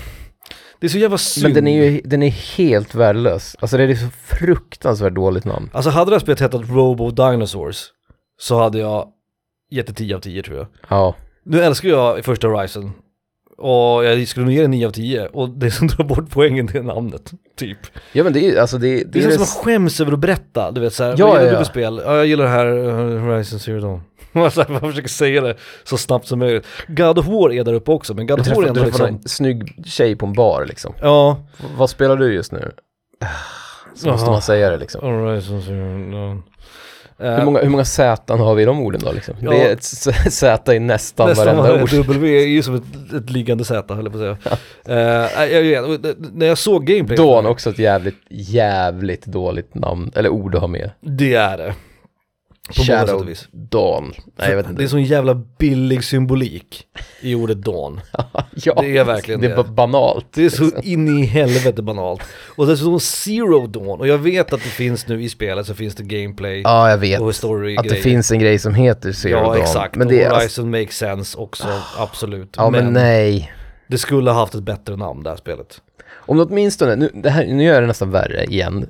Speaker 2: det är så jävla synd.
Speaker 1: men den är ju den är helt värdelös. Alltså det är så fruktansvärt dåligt namn.
Speaker 2: Alltså hade det här spelet hetat Robo Dinosaurs så hade jag gett det 10 av 10 tror jag.
Speaker 1: Ja.
Speaker 2: Nu älskar jag i första Horizon och jag skulle nog ge det 9 av 10 och det som drar bort poängen det är namnet, typ.
Speaker 1: Ja men det är ju, alltså det, det,
Speaker 2: Det är,
Speaker 1: är
Speaker 2: som att man skäms över att berätta, du vet såhär,
Speaker 1: Ja,
Speaker 2: vad gillar
Speaker 1: ja,
Speaker 2: du
Speaker 1: ja.
Speaker 2: för spel? Ja, jag gillar det här eh, Horizon Zero Dawn. Alltså, man försöker säga det så snabbt som möjligt. God of War är där uppe också, men God
Speaker 1: Du
Speaker 2: of War
Speaker 1: träffar,
Speaker 2: är ändå
Speaker 1: du träffar
Speaker 2: liksom...
Speaker 1: en snygg tjej på en bar liksom.
Speaker 2: Ja,
Speaker 1: V- Vad spelar du just nu? Ah, Så måste
Speaker 2: Jaha.
Speaker 1: man säga det liksom.
Speaker 2: Horizon Zero Dawn.
Speaker 1: Hur
Speaker 2: Eh,
Speaker 1: många, hur många Z har vi i de orden då liksom?
Speaker 2: Ja.
Speaker 1: Det är ett s- Z i nästan,
Speaker 2: Nästan
Speaker 1: varenda
Speaker 2: varenda
Speaker 1: ord.
Speaker 2: W är ju som ett, ett liggande Z höll jag på att säga. Eh, jag vet, och det- när jag såg gameplay,
Speaker 1: Dawn också ett jävligt, jävligt dåligt namn, eller ord att ha med.
Speaker 2: det är det. På många sätt och
Speaker 1: Shadow
Speaker 2: vis.
Speaker 1: Dawn. Nej jag vet
Speaker 2: Det är
Speaker 1: inte.
Speaker 2: sån jävla billig symbolik i ordet dawn.
Speaker 1: Ja,
Speaker 2: det är verkligen
Speaker 1: det.
Speaker 2: det.
Speaker 1: är bara banalt.
Speaker 2: Det är så in i helvete banalt. Och dessutom zero dawn, och jag vet att det finns nu i spelet så finns det gameplay
Speaker 1: Ja jag vet.
Speaker 2: och story
Speaker 1: Att det finns en grej som heter Zero
Speaker 2: Ja
Speaker 1: Dawn.
Speaker 2: exakt,
Speaker 1: Men det är,
Speaker 2: och
Speaker 1: alltså,
Speaker 2: Horizon makes sense också, absolut.
Speaker 1: ja men nej.
Speaker 2: det skulle ha haft ett bättre namn det här spelet.
Speaker 1: Om det åtminstone, nu, det här, nu gör jag det nästan värre igen,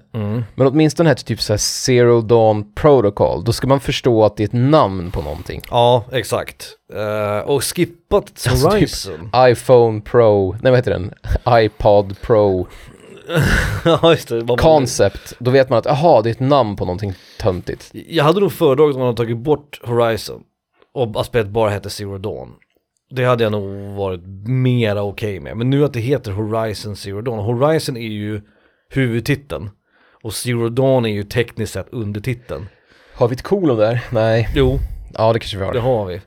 Speaker 1: men åtminstone här till typ så här Zero Dawn Protocol, då ska man förstå att det är ett namn på någonting.
Speaker 2: Ja, exakt. Eh, och skippat
Speaker 1: Alltså, typ-
Speaker 2: Horizon.
Speaker 1: iPhone Pro, nej vad heter den? iPod Pro
Speaker 2: ja, just det. Vad man-
Speaker 1: Concept, då vet man att aha, det är ett namn på någonting töntigt.
Speaker 2: Jag hade nog föredragit om man hade tagit bort Horizon och att spelet bara hette Zero Dawn. Det hade jag nog varit mera okej med. Men nu att det heter Horizon Zero Dawn. Horizon är ju huvudtiteln. Och Zero Dawn är ju tekniskt sett undertiteln.
Speaker 1: Har vi ett cool om det här? Nej.
Speaker 2: Jo,
Speaker 1: Ja, det kanske vi
Speaker 2: det
Speaker 1: har.
Speaker 2: har vi.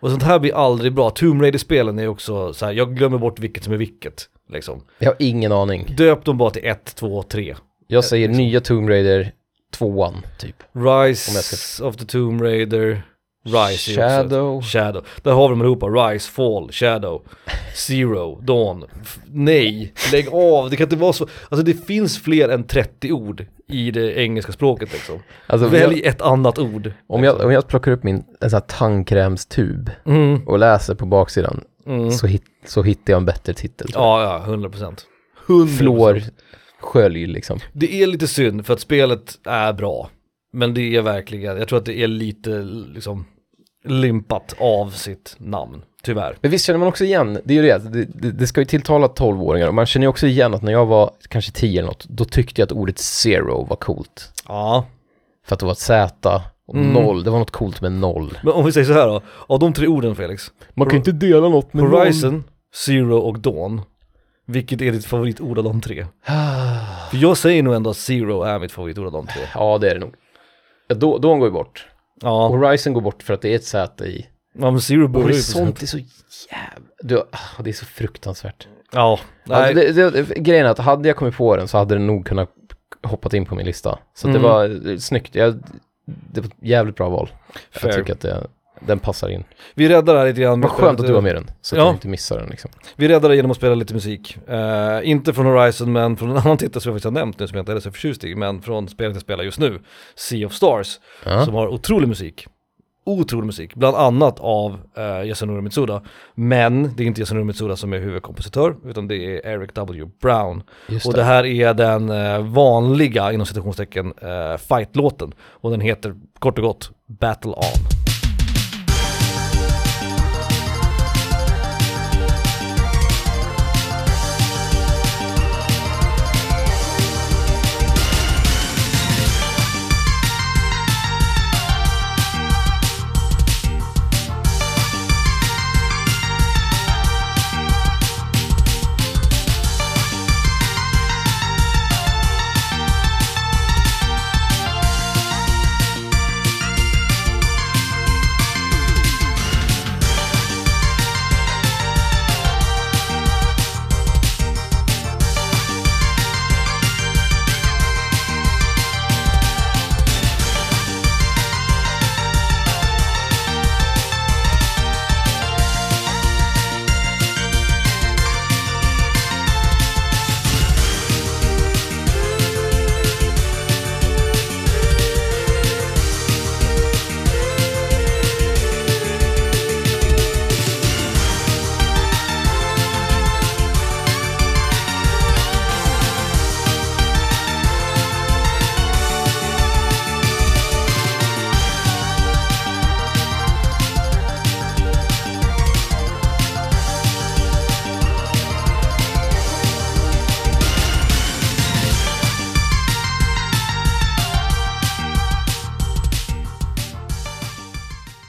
Speaker 2: Och sånt här blir aldrig bra. Tomb Raider-spelen är också så här, jag glömmer bort vilket som är vilket. Liksom.
Speaker 1: Jag har ingen aning.
Speaker 2: Döp dem bara till 1, 2, 3.
Speaker 1: Jag säger
Speaker 2: liksom-
Speaker 1: nya Tomb Raider, tvåan, typ. Om jag
Speaker 2: Rise
Speaker 1: ska-
Speaker 2: of the Tomb Raider, Rise är ju också ett-
Speaker 1: Shadow.
Speaker 2: Oh. Shadow. Där har vi dem allihopa. Rise, Fall, Shadow, Zero, Dawn. F- nej, lägg av. Det kan inte vara så. Alltså det finns fler än 30 ord i det engelska språket liksom.
Speaker 1: Alltså, om
Speaker 2: Välj
Speaker 1: jag,
Speaker 2: ett annat ord. Liksom.
Speaker 1: om, jag, om jag plockar upp min en sån här tandkrämstub
Speaker 2: Mm,
Speaker 1: och läser på baksidan
Speaker 2: mm.
Speaker 1: så, hit, så hittar jag en bättre titel. tror jag.
Speaker 2: Ja, ja, 100 procent. 100%.
Speaker 1: Flår, skölj liksom.
Speaker 2: Det är lite synd för att spelet är bra. Men det är verkligen, jag tror att det är lite liksom limpat av sitt namn. Tyvärr.
Speaker 1: Men visst känner man också igen, det är ju det, att det, det, det ska ju tilltala 12-åringar och man känner ju också igen att när jag var kanske 10 eller något, då tyckte jag att ordet zero var coolt.
Speaker 2: Ja,
Speaker 1: För att det var ett Z Och
Speaker 2: Mm.
Speaker 1: noll, det var något coolt med noll.
Speaker 2: Men om vi säger så här då, av de tre orden Felix,
Speaker 1: Man kan ju inte dela något med
Speaker 2: Horizon, Zero och Dawn, vilket är ditt favoritord av de tre? För jag säger nog ändå att Zero är mitt favoritord av de tre.
Speaker 1: Ja, det är det nog. Ja, då, då går ju bort.
Speaker 2: Ja,
Speaker 1: Horizon går bort för att det är ett Z i.
Speaker 2: ja men Zero börjar ju på sånt.
Speaker 1: Horisont är så jävla... Du, ah, det är så fruktansvärt.
Speaker 2: Ja,
Speaker 1: Alltså,
Speaker 2: nej,
Speaker 1: det, det, grejen är att hade jag kommit på den så hade den nog kunnat hoppat in på min lista. Så att
Speaker 2: Mm.
Speaker 1: det var eh, snyggt. Jag, det var ett jävligt bra val. Jag
Speaker 2: fair.
Speaker 1: tycker att det, den passar in.
Speaker 2: Vi räddar det här lite grann. med
Speaker 1: Vad skönt att
Speaker 2: själv-
Speaker 1: du var med i den, så att
Speaker 2: Ja.
Speaker 1: jag inte missar den liksom.
Speaker 2: Vi räddar det genom att spela lite musik. Eh, inte från Horizon men från en annan titel som jag faktiskt har nämnt nu som jag inte heller är så förtjust i, men från spelet jag spelar just nu, Sea of Stars,
Speaker 1: Ja.
Speaker 2: som har otrolig musik. Otrolig musik, bland annat av uh, Yasunori Mitsuda. Men det är inte Yasunori Mitsuda som är huvudkompositör, utan det är Eric W. Brown.
Speaker 1: Just
Speaker 2: Och det här är den eh, vanliga, inom citationstecken, eh, fight-låten. Och den heter kort och gott Battle On.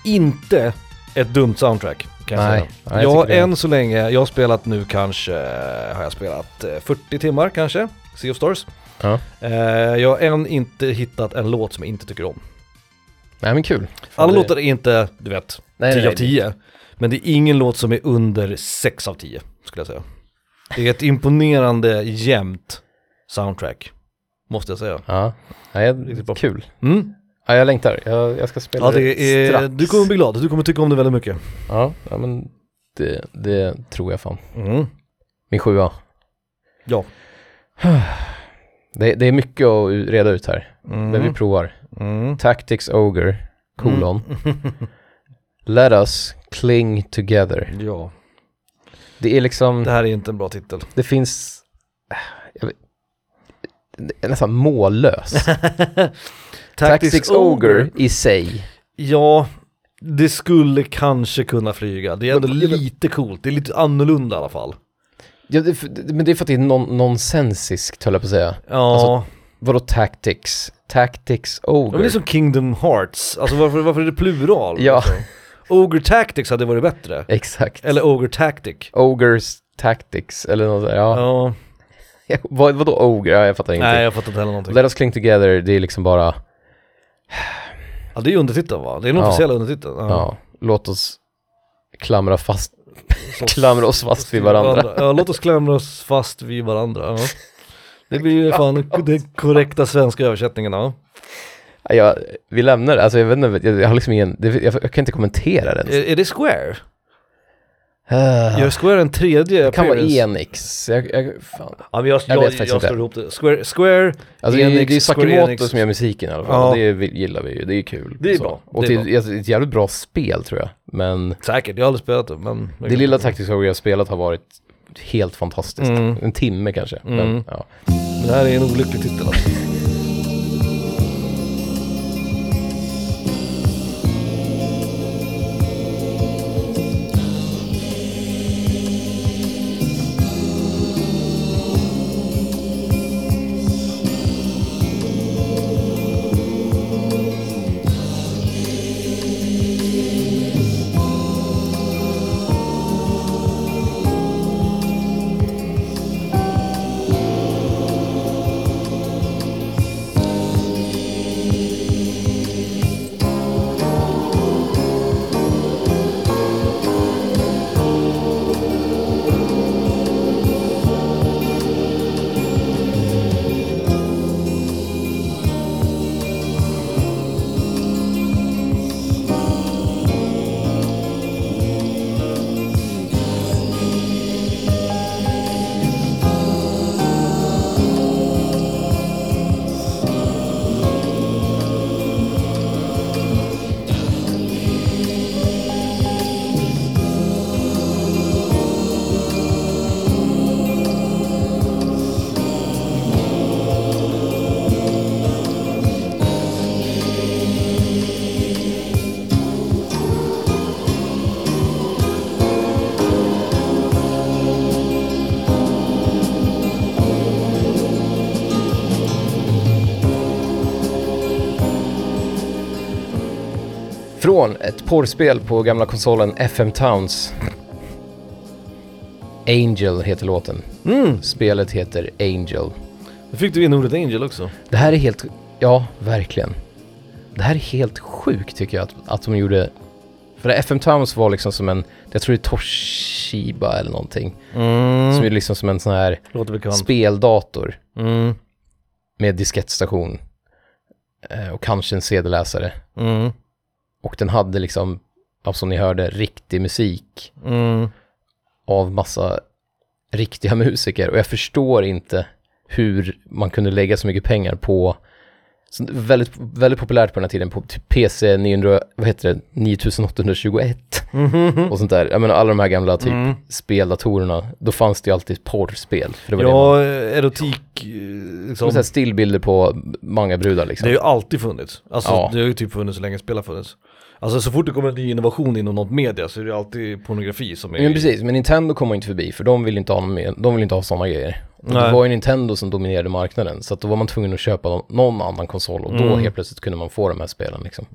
Speaker 2: inte ett dumt soundtrack. Kan jag
Speaker 1: Nej,
Speaker 2: säga.
Speaker 1: nej, jag
Speaker 2: jag har
Speaker 1: tycker det.
Speaker 2: än så länge, jag har spelat nu kanske, eh, har jag spelat eh, 40 timmar kanske, Sea of Stars.
Speaker 1: Ja.
Speaker 2: Eh, jag har än inte hittat en låt som jag inte tycker om.
Speaker 1: Nej men kul. Fan,
Speaker 2: Alla
Speaker 1: det-
Speaker 2: låtar är inte, du vet,
Speaker 1: Nej,
Speaker 2: 10
Speaker 1: nej,
Speaker 2: av 10. Men det är ingen låt som är under 6 av 10, skulle jag säga. Det är ett imponerande jämnt soundtrack, måste jag säga.
Speaker 1: Ja, Nej, jag-
Speaker 2: Riktigt bra.
Speaker 1: kul.
Speaker 2: Mm.
Speaker 1: Ja, jag längtar. Jag, jag ska spela
Speaker 2: Ja, det är,
Speaker 1: strax.
Speaker 2: du kommer bli glad, du kommer tycka om det väldigt mycket.
Speaker 1: Ja, ja men det, det tror jag fan.
Speaker 2: Mm.
Speaker 1: Min sjua.
Speaker 2: Ja.
Speaker 1: Det, det är mycket att u- reda ut här, men
Speaker 2: Mhm.
Speaker 1: vi provar.
Speaker 2: Mm.
Speaker 1: Tactics Ogre, kolon. Let us cling together.
Speaker 2: Ja.
Speaker 1: Det är liksom,
Speaker 2: Det här är inte en bra titel.
Speaker 1: det finns... äh, Jag vet, det är nästan mållös. Tactics, Ogre i sig.
Speaker 2: Ja, det skulle kanske kunna flyga. Det är ändå
Speaker 1: Men-
Speaker 2: lite coolt. Det är lite annorlunda i alla fall.
Speaker 1: Ja, det, är för- det- men det är för att det är non, nonsensiskt, höll jag på att säga.
Speaker 2: Ja,
Speaker 1: Alltså, Vadå tactics? Tactics
Speaker 2: Ja, men
Speaker 1: Ogre?
Speaker 2: det är som Kingdom Hearts. Alltså varför, varför är det plural?
Speaker 1: Ja.
Speaker 2: Alltså, Ogre Tactics hade varit bättre.
Speaker 1: Exakt.
Speaker 2: Eller Ogre Tactic.
Speaker 1: Ogres Tactics, eller något där. Ja.
Speaker 2: Ja,
Speaker 1: Vad, vadå Ogre? Ja, jag fattar ingenting.
Speaker 2: nej jag fattar inte heller någonting.
Speaker 1: Let us cling together, det är liksom bara,
Speaker 2: Ja, det är undertiteln va? Det är den
Speaker 1: Ja.
Speaker 2: officiella undertiteln. Ja.
Speaker 1: ja, låt oss klamra fast,
Speaker 2: Så-
Speaker 1: klamra oss fast vid varandra.
Speaker 2: Ja, låt oss klamra oss fast vid varandra. Ja. Det blir ju fan den korrekta svenska översättningen. Ja.
Speaker 1: Ja, vi lämnar det, alltså jag vet inte, jag, jag har liksom ingen, det, jag, jag kan inte kommentera den.
Speaker 2: Är, är det Square?
Speaker 1: Ah,
Speaker 2: Gör Square en tredje
Speaker 1: det kan vara
Speaker 2: appearance?
Speaker 1: Enix. Jag, jag, fan.
Speaker 2: Ja, men jag,
Speaker 1: Jag
Speaker 2: jag,
Speaker 1: vet
Speaker 2: jag,
Speaker 1: faktiskt inte.
Speaker 2: slår ihop det. Square, Square
Speaker 1: Alltså det är-
Speaker 2: Enix,
Speaker 1: det är ju
Speaker 2: Square Enix.
Speaker 1: Sakamoto som gör musiken i alla fall,
Speaker 2: Ja.
Speaker 1: och det är- gillar vi ju, det är ju kul.
Speaker 2: Det är
Speaker 1: Så.
Speaker 2: bra,
Speaker 1: Och
Speaker 2: det
Speaker 1: det
Speaker 2: är
Speaker 1: är alltså, ett jävligt bra spel tror jag, men
Speaker 2: säkert, jag har aldrig spelat det. Men
Speaker 1: det lilla Tactics Ogre jag har spelat har varit helt fantastiskt.
Speaker 2: Mm.
Speaker 1: En timme kanske.
Speaker 2: Mm.
Speaker 1: Men, ja.
Speaker 2: Men det här är en olycklig titel alltså.
Speaker 1: Från ett porrspel på gamla konsolen FM Towns. Angel heter låten.
Speaker 2: Mm,
Speaker 1: Spelet heter Angel.
Speaker 2: då fick du in ordet Angel också.
Speaker 1: Det här är helt, ja verkligen. Det här är helt sjukt tycker jag att, att de gjorde. För det FM Towns var liksom som en, jag tror det är Toshiba eller någonting.
Speaker 2: Mm.
Speaker 1: Som är liksom som en sån här
Speaker 2: Låter bekant.
Speaker 1: speldator
Speaker 2: Mm,
Speaker 1: med diskettstation. Eh, Och kanske en CD-läsare.
Speaker 2: mm,
Speaker 1: Och den hade liksom, ja, som ni hörde, riktig musik.
Speaker 2: mm.
Speaker 1: av massa riktiga musiker och jag förstår inte hur man kunde lägga så mycket pengar på så väldigt, väldigt populärt på den här tiden på typ PC 900, vad heter det, 9821 och sånt där. Jag menar alla de här gamla typ
Speaker 2: Mm.
Speaker 1: speldatorerna, då fanns det ju alltid porrspel. För det var det man,
Speaker 2: Ja, erotik eh,
Speaker 1: som
Speaker 2: liksom.
Speaker 1: så här stillbilder på många brudar
Speaker 2: Det
Speaker 1: liksom.
Speaker 2: har ju alltid funnits. Alltså
Speaker 1: Ja.
Speaker 2: det har ju typ funnits så länge spel har funnits. Alltså så fort det kommer en ny innovation inom något media så är det alltid pornografi som är...
Speaker 1: Men precis, men Nintendo kommer inte förbi för de vill inte ha, någon mer, de vill inte ha sådana grejer. Och det
Speaker 2: Nej.
Speaker 1: var ju Nintendo som dominerade marknaden så att då var man tvungen att köpa nå- någon annan konsol och då
Speaker 2: Mm.
Speaker 1: helt plötsligt kunde man få de här spelen liksom.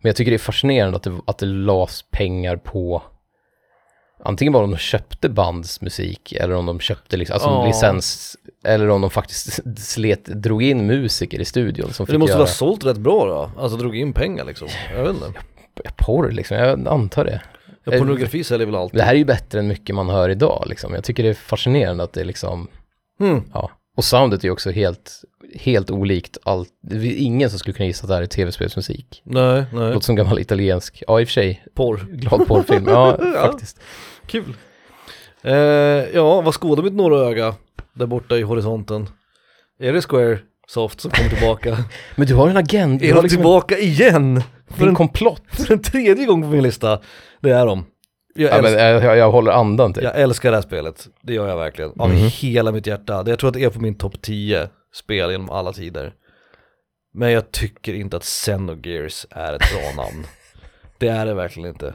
Speaker 1: Men jag tycker det är fascinerande att det, att det lades pengar på antingen bara om de köpte bandsmusik eller om de köpte liksom, alltså
Speaker 2: Ja.
Speaker 1: licens eller om de faktiskt slet, drog in musiker i studion som
Speaker 2: Men det
Speaker 1: fick
Speaker 2: måste väl
Speaker 1: göra
Speaker 2: ha sålt rätt bra då? Alltså drog in pengar liksom. Jag vet inte.
Speaker 1: porr liksom, jag antar det.
Speaker 2: Ja, pornografi säljer väl alltid.
Speaker 1: Det här är ju bättre än mycket man hör idag liksom. Jag tycker det är fascinerande att det liksom
Speaker 2: Hmm.
Speaker 1: Ja, och soundet är ju också helt, helt olikt allt. Det är ingen som skulle kunna gissa att det här är tv-spelsmusik.
Speaker 2: Nej, nej.
Speaker 1: Låter som gammal italiensk, ja i och för sig,
Speaker 2: Porr.
Speaker 1: glad porrfilm. Ja,
Speaker 2: Ja.
Speaker 1: faktiskt.
Speaker 2: Kul. Eh, ja, vad skådar mitt norra öga där borta i horisonten? Är det Square Soft som kommer tillbaka?
Speaker 1: Men du har en agenda, du
Speaker 2: är
Speaker 1: har
Speaker 2: de
Speaker 1: liksom
Speaker 2: tillbaka igen?
Speaker 1: en,
Speaker 2: För
Speaker 1: en
Speaker 2: en,
Speaker 1: komplott.
Speaker 2: för en tredje gång på min lista. Det är de. Jag,
Speaker 1: Ja,
Speaker 2: älskar,
Speaker 1: men jag, jag, jag håller andan typ.
Speaker 2: jag älskar det här spelet. Det gör jag verkligen. Av
Speaker 1: Mhm.
Speaker 2: hela mitt hjärta. Det- Jag tror att det är på min topp 10 spel genom alla tider. Men jag tycker inte att Xenogears är ett bra namn. Det är det verkligen inte.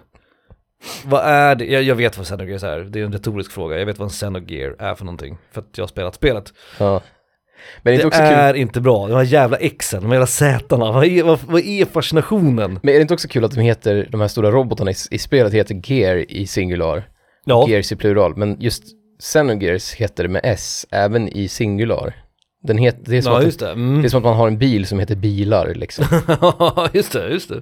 Speaker 2: Vad är det? Jag, jag vet vad Xenogears är. Det är en retorisk fråga. Jag vet vad en Xenogear är för någonting. För att jag har spelat spelet.
Speaker 1: Ja. Men det är inte
Speaker 2: Det
Speaker 1: också kul
Speaker 2: är inte bra. De här jävla exen, de här jävla zätarna. Vad är, vad, vad är fascinationen?
Speaker 1: men är det inte också kul att de heter, de här stora robotarna i, i spelet heter Gear i singular,
Speaker 2: Ja,
Speaker 1: Gears i plural, men just Xenogears heter det med S, även i singular. Den heter, det, är som
Speaker 2: ja
Speaker 1: att,
Speaker 2: just det. Mm.
Speaker 1: det är som att man har en bil som heter bilar liksom.
Speaker 2: Ja, just det, just det.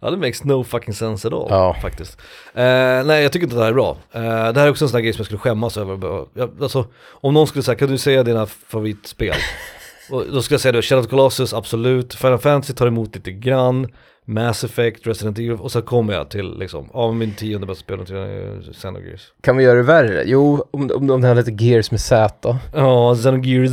Speaker 2: Ja, det makes no fucking sense at all
Speaker 1: Ja.
Speaker 2: faktiskt. Eh, nej, jag tycker inte att det här är bra. Eh, det här är också en sån här grej som jag skulle skämmas över. Jag, alltså, om någon skulle säga, kan du säga dina favoritspel? Och då skulle jag säga då, Shadow of the Colossus, absolut. Final Fantasy tar emot lite grann. Mass Effect, Resident Evil och så kommer jag till liksom, av min tionde bästa spel, eh, Xenogears.
Speaker 1: Kan vi göra det värre? Jo, om, om, om den här lite Gears med Z.
Speaker 2: Ja, Xenogears.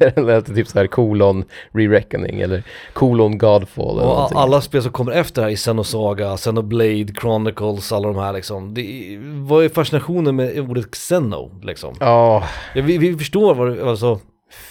Speaker 1: eller att det typ så här kolon re-reckoning eller kolon Godfall eller
Speaker 2: Och
Speaker 1: någonting.
Speaker 2: alla spel som kommer efter det här i Xenosaga, Xenoblade, Chronicles, alla de här liksom. Det, är- vad är fascinationen med ordet Xeno liksom?
Speaker 1: Ja,
Speaker 2: Ja, vi, vi förstår vad det, alltså,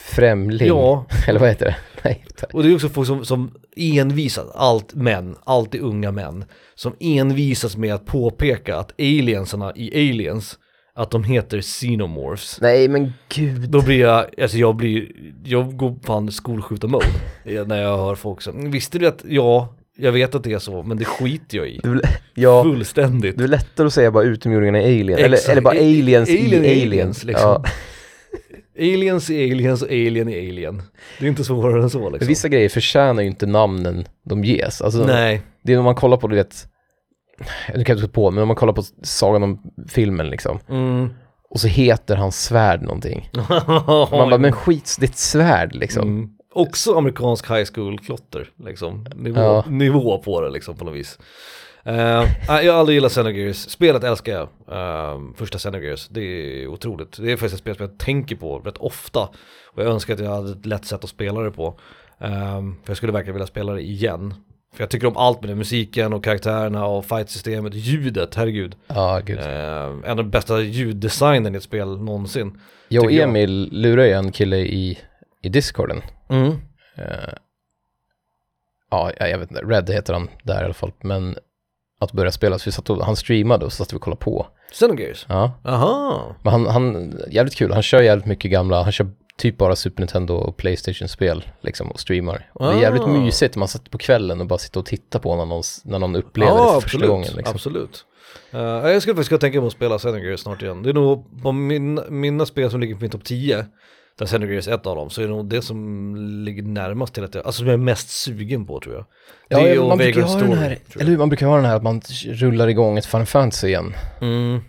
Speaker 1: främling.
Speaker 2: ja.
Speaker 1: Eller vad heter det? Nej, tack.
Speaker 2: Och det är också folk som, som envisas, allt män, alltid unga män, som envisas med att påpeka att aliensarna i Aliens, att de heter Xenomorphs.
Speaker 1: Nej, men gud.
Speaker 2: Då blir jag, alltså jag blir, jag går fan skolskjutar-mode eh, när jag hör folk som, visste du att, ja, jag vet att det är så, men det skiter jag i.
Speaker 1: Det är väl- ja,
Speaker 2: Fullständigt.
Speaker 1: det är lättare att säga bara utomjordingarna i Alien.
Speaker 2: Exakt.
Speaker 1: Eller, eller bara
Speaker 2: I-
Speaker 1: aliens
Speaker 2: alien
Speaker 1: i
Speaker 2: är
Speaker 1: aliens.
Speaker 2: aliens, liksom.
Speaker 1: ja.
Speaker 2: Aliens är aliens och alien är alien. Det är inte svårare än så
Speaker 1: Men
Speaker 2: liksom.
Speaker 1: vissa grejer förtjänar ju inte namnen de ges. Alltså,
Speaker 2: Nej,
Speaker 1: Det är när man kollar på, du vet, nu kan jag inte på, men om man kollar på Sagan om filmen liksom.
Speaker 2: mm.
Speaker 1: Och så heter hans svärd någonting. Man bara, men skits, det är ett svärd liksom.
Speaker 2: Mm. Också amerikansk high school-klotter, liksom. Nivå,
Speaker 1: Ja.
Speaker 2: nivå på det liksom på något vis. Eh, nej, jag har aldrig gillat Xenogears, spelet älskar jag. Eh, första Xenogears, det är otroligt. Det är faktiskt ett spel som jag tänker på rätt ofta. Och jag önskar att jag hade ett lätt sätt att spela det på. Eh, för jag skulle verkligen vilja spela det igen. För jag tycker om allt med det, musiken och karaktärerna och fightsystemet, ljudet, herregud.
Speaker 1: Ja, gud.
Speaker 2: Eh, en av de bästa ljuddesignen i ett spel någonsin.
Speaker 1: Jag och
Speaker 2: tycker jag.
Speaker 1: Emil lurar ju en kille i, i discorden. Eh, ja, jag jag vet inte, Red heter han där i alla fall, men att börja spela, så vi satt och, han streamade och så satt vi och kollade på.
Speaker 2: Xenogears?
Speaker 1: Ja,
Speaker 2: Aha.
Speaker 1: men han, han, jävligt kul, han kör jävligt mycket gamla, han kör typ bara Super Nintendo och Playstation-spel liksom och streamar. Och det är jävligt
Speaker 2: Ah.
Speaker 1: mysigt, man satt på kvällen och bara sitter och tittar på när någon, s- när någon upplever det för första
Speaker 2: absolut,
Speaker 1: gången. Liksom.
Speaker 2: Absolut. Eh, jag skulle faktiskt kunna tänka mig att spela Xenogears snart igen. Det är nog på min, mina spel som ligger på min topp 10, där Xenogears är ett av dem, så är det nog det som ligger närmast till att jag, alltså som jag är mest sugen på tror jag.
Speaker 1: Ja,
Speaker 2: det
Speaker 1: man, brukar ju ha den här,
Speaker 2: tror jag.
Speaker 1: eller hur, man brukar ha den här att man rullar igång ett Final Fantasy igen.
Speaker 2: Mm,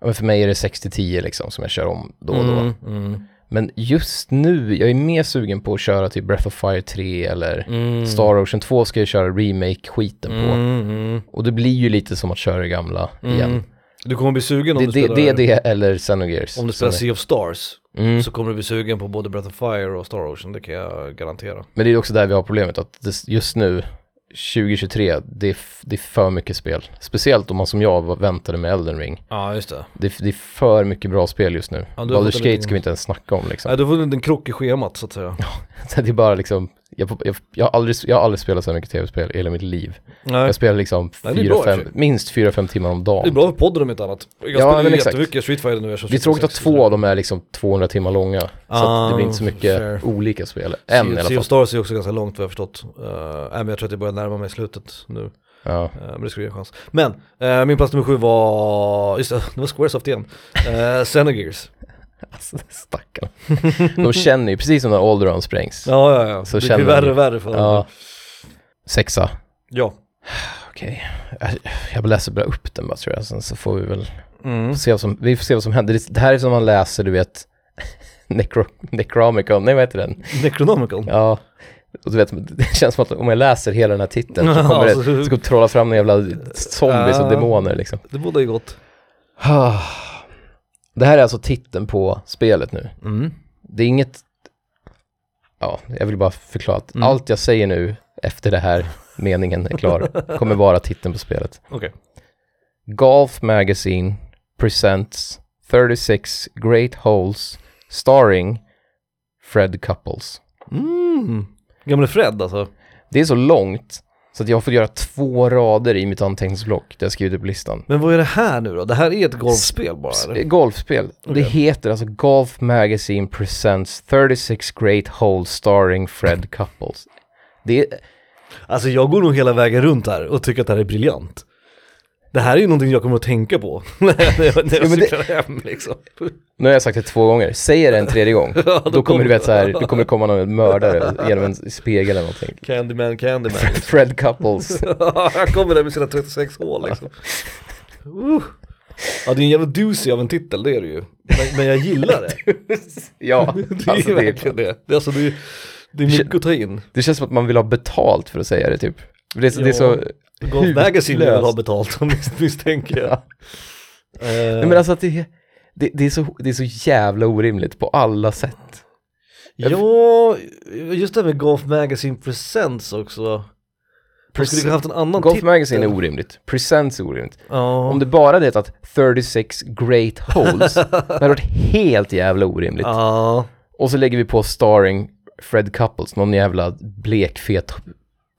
Speaker 1: Ja, men för mig är det 60-10 liksom som jag kör om då och då.
Speaker 2: mm, mm,
Speaker 1: Men just nu, jag är mer sugen på att köra typ Breath of Fire 3 eller
Speaker 2: mm,
Speaker 1: Star Ocean 2 ska jag köra remake-skiten på.
Speaker 2: mm, mm,
Speaker 1: Och det blir ju lite som att köra det gamla igen.
Speaker 2: mm. Du kommer bli sugen om
Speaker 1: Det,
Speaker 2: du
Speaker 1: det,
Speaker 2: spelar,
Speaker 1: det är det eller Xenogears.
Speaker 2: om
Speaker 1: som
Speaker 2: du spelar
Speaker 1: är-
Speaker 2: Sea of Stars,
Speaker 1: Mm.
Speaker 2: så kommer du bli sugen på både Breath of Fire och Star Ocean, det kan jag garantera.
Speaker 1: Men det är också där vi har problemet, att det, just nu, 2023, det är, f- det är för mycket spel. Speciellt om man som jag var- väntade med Elden Ring.
Speaker 2: Ja, just det.
Speaker 1: Det, är- det är för mycket bra spel just nu.
Speaker 2: Ja, du har fått
Speaker 1: Baldur's
Speaker 2: en
Speaker 1: Gate
Speaker 2: liten-
Speaker 1: ska vi inte ens snacka om liksom.
Speaker 2: Nej, du får en krock i schemat så att säga.
Speaker 1: Så det är bara liksom, jag, jag, jag, har aldrig, jag har aldrig spelat så här mycket tv-spel i hela mitt liv.
Speaker 2: Nej.
Speaker 1: Jag spelar liksom
Speaker 2: Nej, det är
Speaker 1: fyra,
Speaker 2: bra i och
Speaker 1: fem,
Speaker 2: för
Speaker 1: minst 4-5 timmar om dagen.
Speaker 2: Det är bra för podden om inte annat. Jag
Speaker 1: Ja,
Speaker 2: spelar
Speaker 1: men
Speaker 2: ju
Speaker 1: exakt.
Speaker 2: jättemycket Street Fighter nu. eftersom
Speaker 1: Det är tråkigt att
Speaker 2: 66
Speaker 1: två av dem är liksom 200 timmar långa. Så att det
Speaker 2: Ah,
Speaker 1: blir inte så mycket
Speaker 2: fair.
Speaker 1: olika spel.
Speaker 2: Sea-
Speaker 1: Än i alla
Speaker 2: Sea
Speaker 1: fall.
Speaker 2: of Stars är också ganska långt vad jag har förstått. Eh, nej, men jag tror att det börjar närma mig slutet nu.
Speaker 1: Ja.
Speaker 2: Eh, men det skulle ge en chans. Men eh, min plats nummer sju var, just det, det var Squaresoft igen. Uh, Xenogears.
Speaker 1: Alltså stackarn. De känner ju, precis som när Alderon sprängs.
Speaker 2: Ja, ja, ja.
Speaker 1: Så
Speaker 2: det
Speaker 1: känner
Speaker 2: blir värre
Speaker 1: man-
Speaker 2: och värre för
Speaker 1: Ja. Sexa.
Speaker 2: ja.
Speaker 1: Okej. Jag- Jag läser bara upp den bara tror jag. Sen så får vi väl
Speaker 2: Mm.
Speaker 1: se vad som, vi får se vad som händer. Det, det här är som man läser, du vet, Necro, Necromicon, nej vad heter
Speaker 2: Mm.
Speaker 1: den?
Speaker 2: Necronomicon.
Speaker 1: Ja. Och du vet, det känns som att om jag läser hela den här titeln så kommer det,
Speaker 2: Alltså,
Speaker 1: så kommer det trolla fram några jävla zombies och
Speaker 2: Ah.
Speaker 1: demoner liksom.
Speaker 2: Det båda ju gott.
Speaker 1: Ah. Det här är alltså titeln på spelet nu.
Speaker 2: Mm.
Speaker 1: Det är inget... Ja, jag vill bara förklara att
Speaker 2: Mm.
Speaker 1: allt jag säger nu efter det här meningen är klar kommer vara titeln på spelet.
Speaker 2: Okej.
Speaker 1: Golf Magazine presents 36 Great Holes starring Fred Couples.
Speaker 2: Mm. Gamle Fred alltså.
Speaker 1: Det är så långt så att jag får göra två rader i mitt anteckningsblock där jag skrivit upp listan.
Speaker 2: Men vad är det här nu då? Det här är ett golfspel bara eller?
Speaker 1: S- Golfspel. Det
Speaker 2: Okej.
Speaker 1: heter alltså Golf Magazine presents 36 Great Holes starring Fred Couples. Det är,
Speaker 2: Alltså jag går nog hela vägen runt här och tycker att det här är briljant. Det här är ju någonting jag kommer att tänka på när jag, när jag
Speaker 1: Ja, men det-
Speaker 2: cyklar hem liksom.
Speaker 1: nu har jag sagt det två gånger, säger det en tredje gång, då, kommer du vet så här, då kommer det komma någon mördare genom en spegel eller någonting.
Speaker 2: Candyman, Candyman.
Speaker 1: Fred Couples.
Speaker 2: Han kommer där med sina 36 hål liksom. Uh. Ja det är en jävla doozy av en titel, det är det ju. Men, men jag gillar det.
Speaker 1: Ja,
Speaker 2: Det är
Speaker 1: alltså det, är,
Speaker 2: verkligen det. det, är alltså, det, är, det är mycket att ta in.
Speaker 1: det känns som att man vill ha betalt för att säga det typ. Det är, så- det är så...
Speaker 2: Golf Magazine vill
Speaker 1: Hutlöst.
Speaker 2: ha betalt mis- misstänker jag.
Speaker 1: Ja.
Speaker 2: Eh,
Speaker 1: Nej, men alltså att det, är- det, det, är så, det är så jävla orimligt på alla sätt.
Speaker 2: Ja, just det här med Golf Magazine Presents också. Man skulle kunna haft en annan
Speaker 1: Golf
Speaker 2: titel.
Speaker 1: Magazine är orimligt, presents är orimligt.
Speaker 2: Ja,
Speaker 1: Om det bara det att 36 great holes, det hade varit helt jävla orimligt.
Speaker 2: ja.
Speaker 1: Och så lägger vi på starring Fred Couples, någon jävla blekfet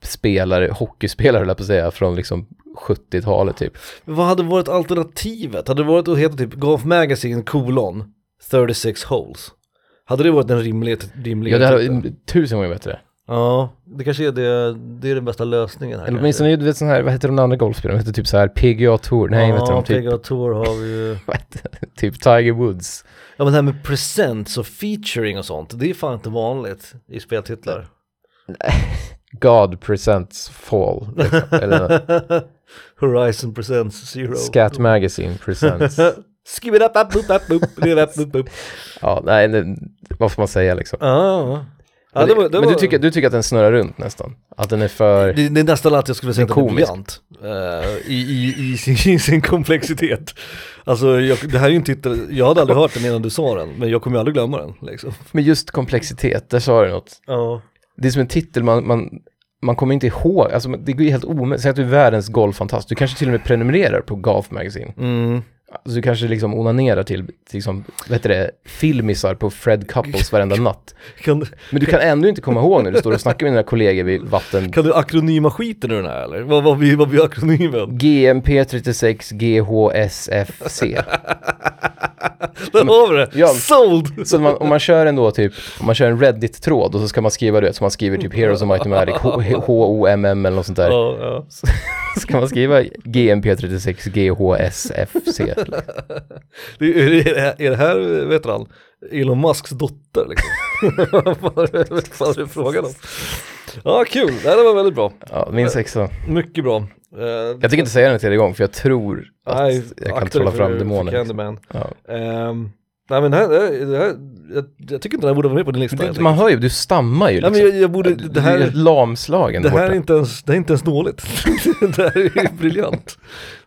Speaker 1: spelare, hockeyspelare höll jag på att säga, från liksom 70-talet typ.
Speaker 2: Men Vad hade varit alternativet? Hade det varit att heta typ Golf Magazine kolon 36 holes? Hade det varit en rimlig, rimlig
Speaker 1: Ja, det hade
Speaker 2: titel?
Speaker 1: varit tusen gånger bättre.
Speaker 2: ja, det kanske är, det, det är den bästa lösningen här.
Speaker 1: Eller åtminstone, du vet sån här, vad heter de andra golfspelarna? De heter typ så här PGA Tour, nej vad heter de? Typ,
Speaker 2: PGA Tour har vi ju.
Speaker 1: vad heter det? typ Tiger Woods.
Speaker 2: Ja men det här med presents och featuring och sånt, det är fan inte vanligt i speltitlar.
Speaker 1: God presents fall. Liksom. Eller
Speaker 2: Horizon presents zero.
Speaker 1: Scat Magazine presents.
Speaker 2: Skibbidapapupapup,
Speaker 1: Ja, nej, det, vad får man säga liksom?
Speaker 2: Ja, ja.
Speaker 1: Men,
Speaker 2: det, var, det,
Speaker 1: men
Speaker 2: var,
Speaker 1: du, tycker, du tycker att den snurrar runt nästan? Att den är för...
Speaker 2: det, det är nästan att jag skulle säga att den är
Speaker 1: komisk.
Speaker 2: briljant. eh, i, i, i, sin, I sin komplexitet. Alltså jag, det här är ju en titel, jag hade aldrig hört den innan du sa den, men jag kommer ju aldrig glömma den liksom.
Speaker 1: Men just komplexitet, där sa du något.
Speaker 2: Ja.
Speaker 1: Det är som en titel man, man, man kommer inte ihåg, alltså det går ju helt omöjligt. Säg att du är världens golffantast, du kanske till och med prenumererar på Golf Magazine.
Speaker 2: Mm.
Speaker 1: Alltså du kanske liksom onanerar till, till liksom, vad heter det, filmisar på Fred Couples varenda natt.
Speaker 2: Kan,
Speaker 1: Men du kan ändå inte komma ihåg när du står och snackar med dina kollegor vid vatten.
Speaker 2: kan du akronyma skiten ur den här eller? Vad, vad, blir, vad blir akronymen?
Speaker 1: GMP36 GHSFC.
Speaker 2: Där har vi det!
Speaker 1: ja.
Speaker 2: Sold!
Speaker 1: Så man, om man kör en då typ, om man kör en Reddit-tråd och så ska man skriva det, så man skriver typ Heroes of Might and Magic, H- H- H-O-M-M eller något sånt där.
Speaker 2: Ja, ja.
Speaker 1: Så kan man skriva GMP36 GHSFC.
Speaker 2: Det, är, är, det här, är det här, vet du han, Elon Musks dotter liksom? Vad är det- vad är det frågan om? Ja, kul. Nej, det var väldigt bra.
Speaker 1: Ja, min sexa.
Speaker 2: Mycket bra. Eh,
Speaker 1: Jag tänker inte säga den en tredje gång, för jag tror att
Speaker 2: nej,
Speaker 1: jag
Speaker 2: akta
Speaker 1: kan
Speaker 2: dig
Speaker 1: trolla
Speaker 2: för-
Speaker 1: fram
Speaker 2: för
Speaker 1: demoner. liksom.
Speaker 2: Candyman.
Speaker 1: Ja.
Speaker 2: Ehm, nej men det här, det här, jag, jag tycker inte det här borde vara med på din lista. helt
Speaker 1: Du, man hör ju, du stammar ju
Speaker 2: enkelt. nej,
Speaker 1: liksom.
Speaker 2: men jag, jag borde, det
Speaker 1: du är
Speaker 2: här,
Speaker 1: lamslagen
Speaker 2: det
Speaker 1: där
Speaker 2: här, är
Speaker 1: borta.
Speaker 2: inte ens, det här är inte ens dåligt. det här är ju briljant.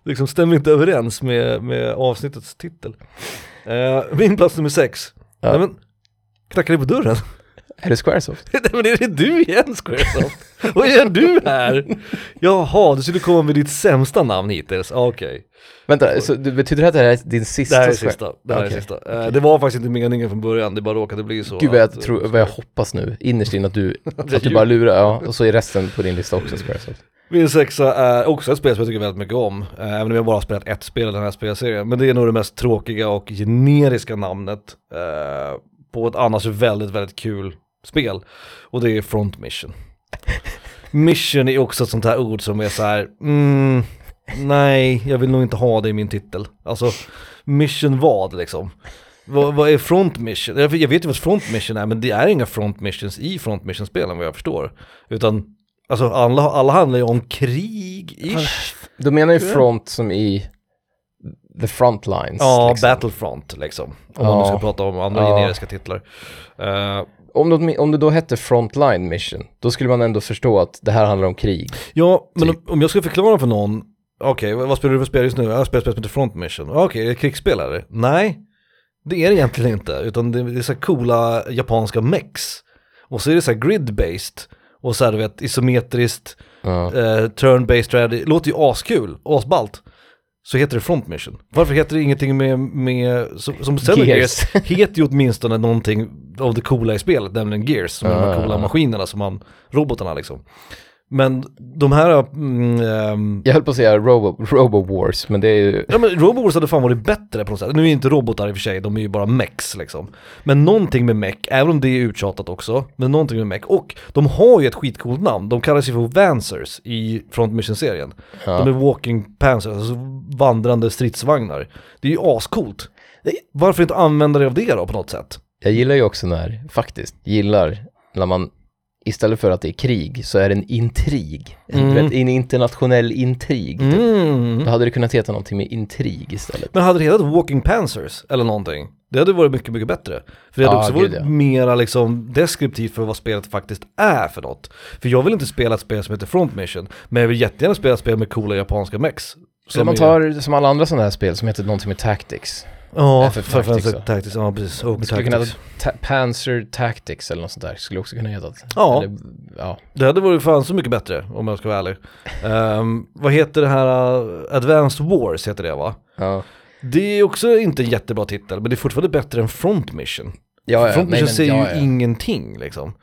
Speaker 2: Det liksom stämmer inte överens med, med avsnittets titel. Eh, min plats nummer sex.
Speaker 1: Ja.
Speaker 2: Nej, men, knackar det på dörren?
Speaker 1: Är det Squaresoft?
Speaker 2: Nej men är det du igen Squaresoft? Vad gör du här? Jaha, du skulle komma med ditt sämsta namn hittills, Ah, okej.
Speaker 1: Vänta, så det betyder det att det här är din sista
Speaker 2: Det här är
Speaker 1: Square-
Speaker 2: sista, det här är
Speaker 1: Okej,
Speaker 2: sista. Eh, Det var faktiskt inte meningen från början, det bara råkade bli så.
Speaker 1: Gud vad
Speaker 2: att- eh,
Speaker 1: jag, tror, vad jag hoppas nu, innerst inne att du,
Speaker 2: det är
Speaker 1: att du
Speaker 2: ju-
Speaker 1: bara lurar, ja, och så är resten på din lista också Squaresoft.
Speaker 2: Min sexa är också ett spel som jag tycker väldigt mycket om, eh, även om jag bara har spelat ett spel i den här spelserien. Men det är nog det mest tråkiga och generiska namnet eh, på ett annars väldigt, väldigt kul spel. Och det är Front Mission. Mission är också ett sånt här ord som är så här, mm, nej, jag vill nog inte ha det i min titel. Alltså, mission vad liksom? Vad, vad är front mission? Jag jag vet ju vad front mission är, men det är inga front missions i front mission-spelen vad jag förstår. Utan, alltså alla, alla handlar ju om krig-ish.
Speaker 1: Du menar ju front som i the front lines.
Speaker 2: Ja,
Speaker 1: liksom.
Speaker 2: Battlefront liksom. Om man
Speaker 1: Ja.
Speaker 2: nu ska prata om andra
Speaker 1: Ja.
Speaker 2: generiska titlar. Eh,
Speaker 1: om, det, om det då hette frontline mission, då skulle man ändå förstå att det här handlar om krig.
Speaker 2: Ja, men om, om jag ska förklara för någon, okej, vad, vad spelar du för spel just nu? Jag spelar ett spel som heter Front Mission. Okej, är det ett krigsspel eller? Nej, det är det egentligen inte, utan det, det är så här coola japanska mex. Och så är det så här grid-based, och så här du vet, isometriskt,
Speaker 1: Ja.
Speaker 2: eh, turn-based strategy, låter ju askul, asballt. Så heter det Front Mission. Varför heter det ingenting med, med som, som Zelda Gears.
Speaker 1: Gears.
Speaker 2: heter ju åtminstone någonting av det coola i spelet, nämligen Gears, som är de
Speaker 1: Ja,
Speaker 2: här
Speaker 1: ja,
Speaker 2: coola
Speaker 1: ja.
Speaker 2: maskinerna som man, robotarna liksom. Men de här, mm, ehm,
Speaker 1: Jag höll på att säga Robo, Robo Wars, men det är ju...
Speaker 2: ja men Robowars hade fan varit bättre på något sätt. Nu är inte robotar i och för sig, de är ju bara mechs liksom. Men någonting med mech, även om det är uttjatat också, men någonting med mech. Och de har ju ett skitcoolt namn, de kallas ju för Vancers i Front Mission-serien. De är walking panzers, alltså vandrande stridsvagnar. Det är ju ascoolt. Varför inte använda dig av det då på något sätt?
Speaker 1: Jag gillar ju också när, faktiskt, gillar när man istället för att det är krig så är det en intrig. En, du vet, en internationell intrig.
Speaker 2: Mm.
Speaker 1: Då hade det kunnat heta någonting med intrig istället.
Speaker 2: Men hade det hetat Walking Panzers eller någonting, det hade varit mycket, mycket bättre. För det hade
Speaker 1: Ja,
Speaker 2: också
Speaker 1: gud,
Speaker 2: varit
Speaker 1: ja.
Speaker 2: mera liksom deskriptivt för vad spelet faktiskt är för något. För jag vill inte spela ett spel som heter Front Mission, men jag vill jättegärna spela ett spel med coola japanska mex.
Speaker 1: Så man tar, som alla andra sådana här spel som heter någonting med Tactics.
Speaker 2: Ja,
Speaker 1: FF
Speaker 2: för
Speaker 1: Tactics,
Speaker 2: Tactics,
Speaker 1: va?
Speaker 2: Tactics, ja precis. Open
Speaker 1: Det skulle kunna
Speaker 2: Tactics.
Speaker 1: heta ta- Panzer Tactics eller något sånt där. Skulle också kunna heta.
Speaker 2: Ja.
Speaker 1: Eller, ja.
Speaker 2: Det hade varit fan så mycket bättre om jag ska vara ärlig. Ehm, vad heter det här, uh, Advanced Wars heter det va?
Speaker 1: Ja,
Speaker 2: Det är också inte en jättebra titel, men det är fortfarande bättre än Front Mission.
Speaker 1: ja, ja.
Speaker 2: Front
Speaker 1: Nej,
Speaker 2: Mission
Speaker 1: men,
Speaker 2: säger
Speaker 1: ja, ja.
Speaker 2: ju ingenting liksom.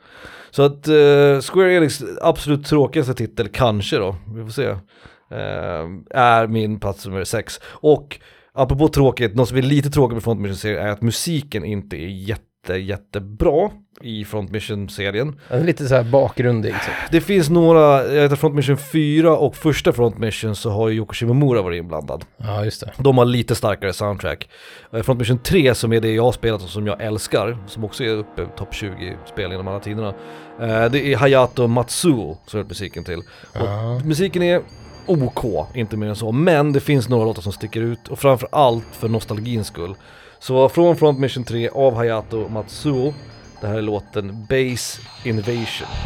Speaker 2: Så att eh, Square Enix absolut tråkigaste titel, kanske då, vi får se, eh, är min plats nummer sex. Och apropå tråkigt, något som är lite tråkigt med Front Mission-serien är att musiken inte är jätte, jättebra i Front Mission-serien.
Speaker 1: Den är lite så här bakgrundig. Liksom.
Speaker 2: Det finns några, jag heter Front Mission 4 och första Front Mission så har ju Yoko Shimomura varit inblandad.
Speaker 1: Ja, just det.
Speaker 2: De har lite starkare soundtrack. Eh, Front Mission 3 som är det jag har spelat och som jag älskar, som också är uppe i topp 20 spel genom alla tiderna. eh, Det är Hayato Matsuo som har gjort musiken till. Och musiken är OK, inte mer än så. Men det finns några låtar som sticker ut och framför allt för nostalgins skull. Så från Front Mission 3 av Hayato Matsuo, det här är låten Base Invasion.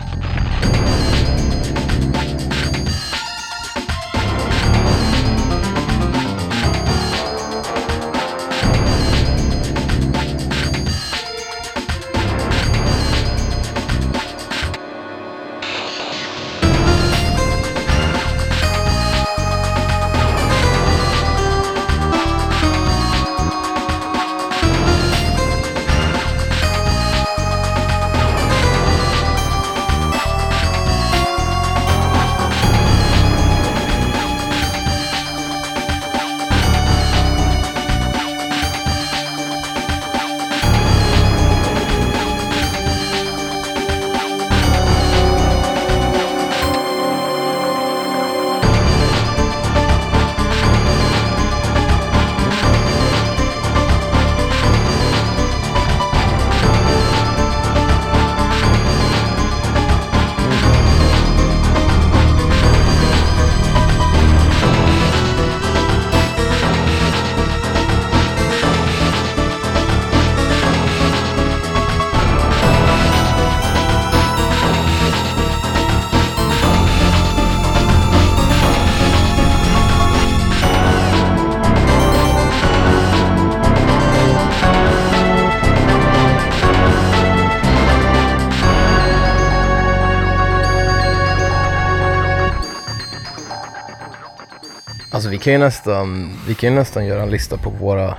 Speaker 1: Alltså vi kan ju nästan, vi kan ju nästan göra en lista på våra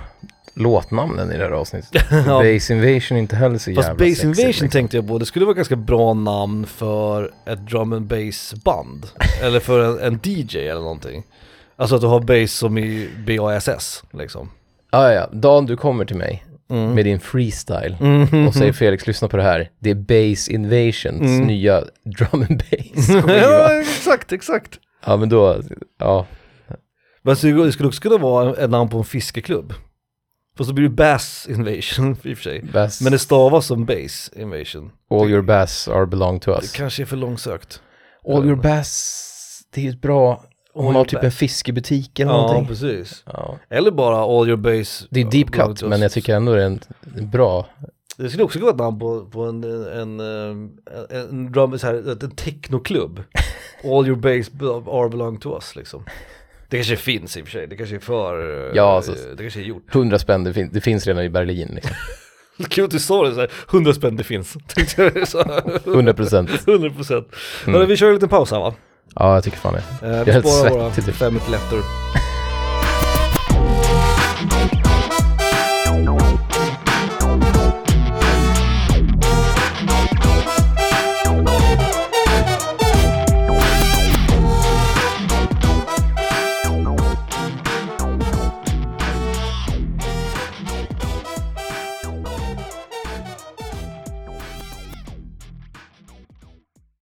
Speaker 1: låtnamnen i det här avsnittet.
Speaker 2: Ja.
Speaker 1: Base Invasion är inte heller så
Speaker 2: Fast
Speaker 1: jävla
Speaker 2: Base
Speaker 1: sexigt,
Speaker 2: Invasion
Speaker 1: liksom.
Speaker 2: tänkte jag på, det skulle vara ett ganska bra namn för ett drum and bass band. eller för en, en DJ eller någonting. Alltså att du har bass som i B-A-S-S liksom.
Speaker 1: Ah, ja, Dan du kommer till mig
Speaker 2: Mm.
Speaker 1: med din freestyle och säger Felix lyssna på det här. Det är Base Invasions
Speaker 2: Mm.
Speaker 1: nya drum and bass
Speaker 2: ja, exakt, exakt.
Speaker 1: Ja men då, ja.
Speaker 2: Men så det skulle också kunna vara ett namn på en fiskeklubb. Fast så blir det Bass Invasion i och för sig.
Speaker 1: Bass,
Speaker 2: Men det stavas som Bass Invasion.
Speaker 1: all your bass are belong to
Speaker 2: Det
Speaker 1: us.
Speaker 2: kanske är för långsökt.
Speaker 1: All your bass, det är ju ett bra,
Speaker 2: All
Speaker 1: hon har
Speaker 2: your
Speaker 1: typ
Speaker 2: bass.
Speaker 1: en fiskebutik eller
Speaker 2: Ja,
Speaker 1: någonting.
Speaker 2: precis.
Speaker 1: Ja.
Speaker 2: Eller bara All Your Bass. uh,
Speaker 1: Det är deep cut men jag tycker ändå det är en en bra
Speaker 2: Det skulle också kunna vara ett namn på, på en, en, en, en drum, så här, en technoklubb. All your bass be- are belong to us liksom. Det kanske finns i och för sig, det kanske är för, eh,
Speaker 1: Ja, alltså.
Speaker 2: eh, det kanske är gjort. 100
Speaker 1: 100 spänn, det, fin- det finns redan i Berlin. Liksom.
Speaker 2: Kul att du sa det såhär, 100 spänn det finns. Tänkte jag så här.
Speaker 1: 100 procent.
Speaker 2: 100 procent.
Speaker 1: Mm.
Speaker 2: Vi kör en liten paus här va? Eh,
Speaker 1: Ja, jag tycker fan det.
Speaker 2: vi
Speaker 1: är helt
Speaker 2: sparar våra
Speaker 1: svettig, typ.
Speaker 2: fem minuter lättare.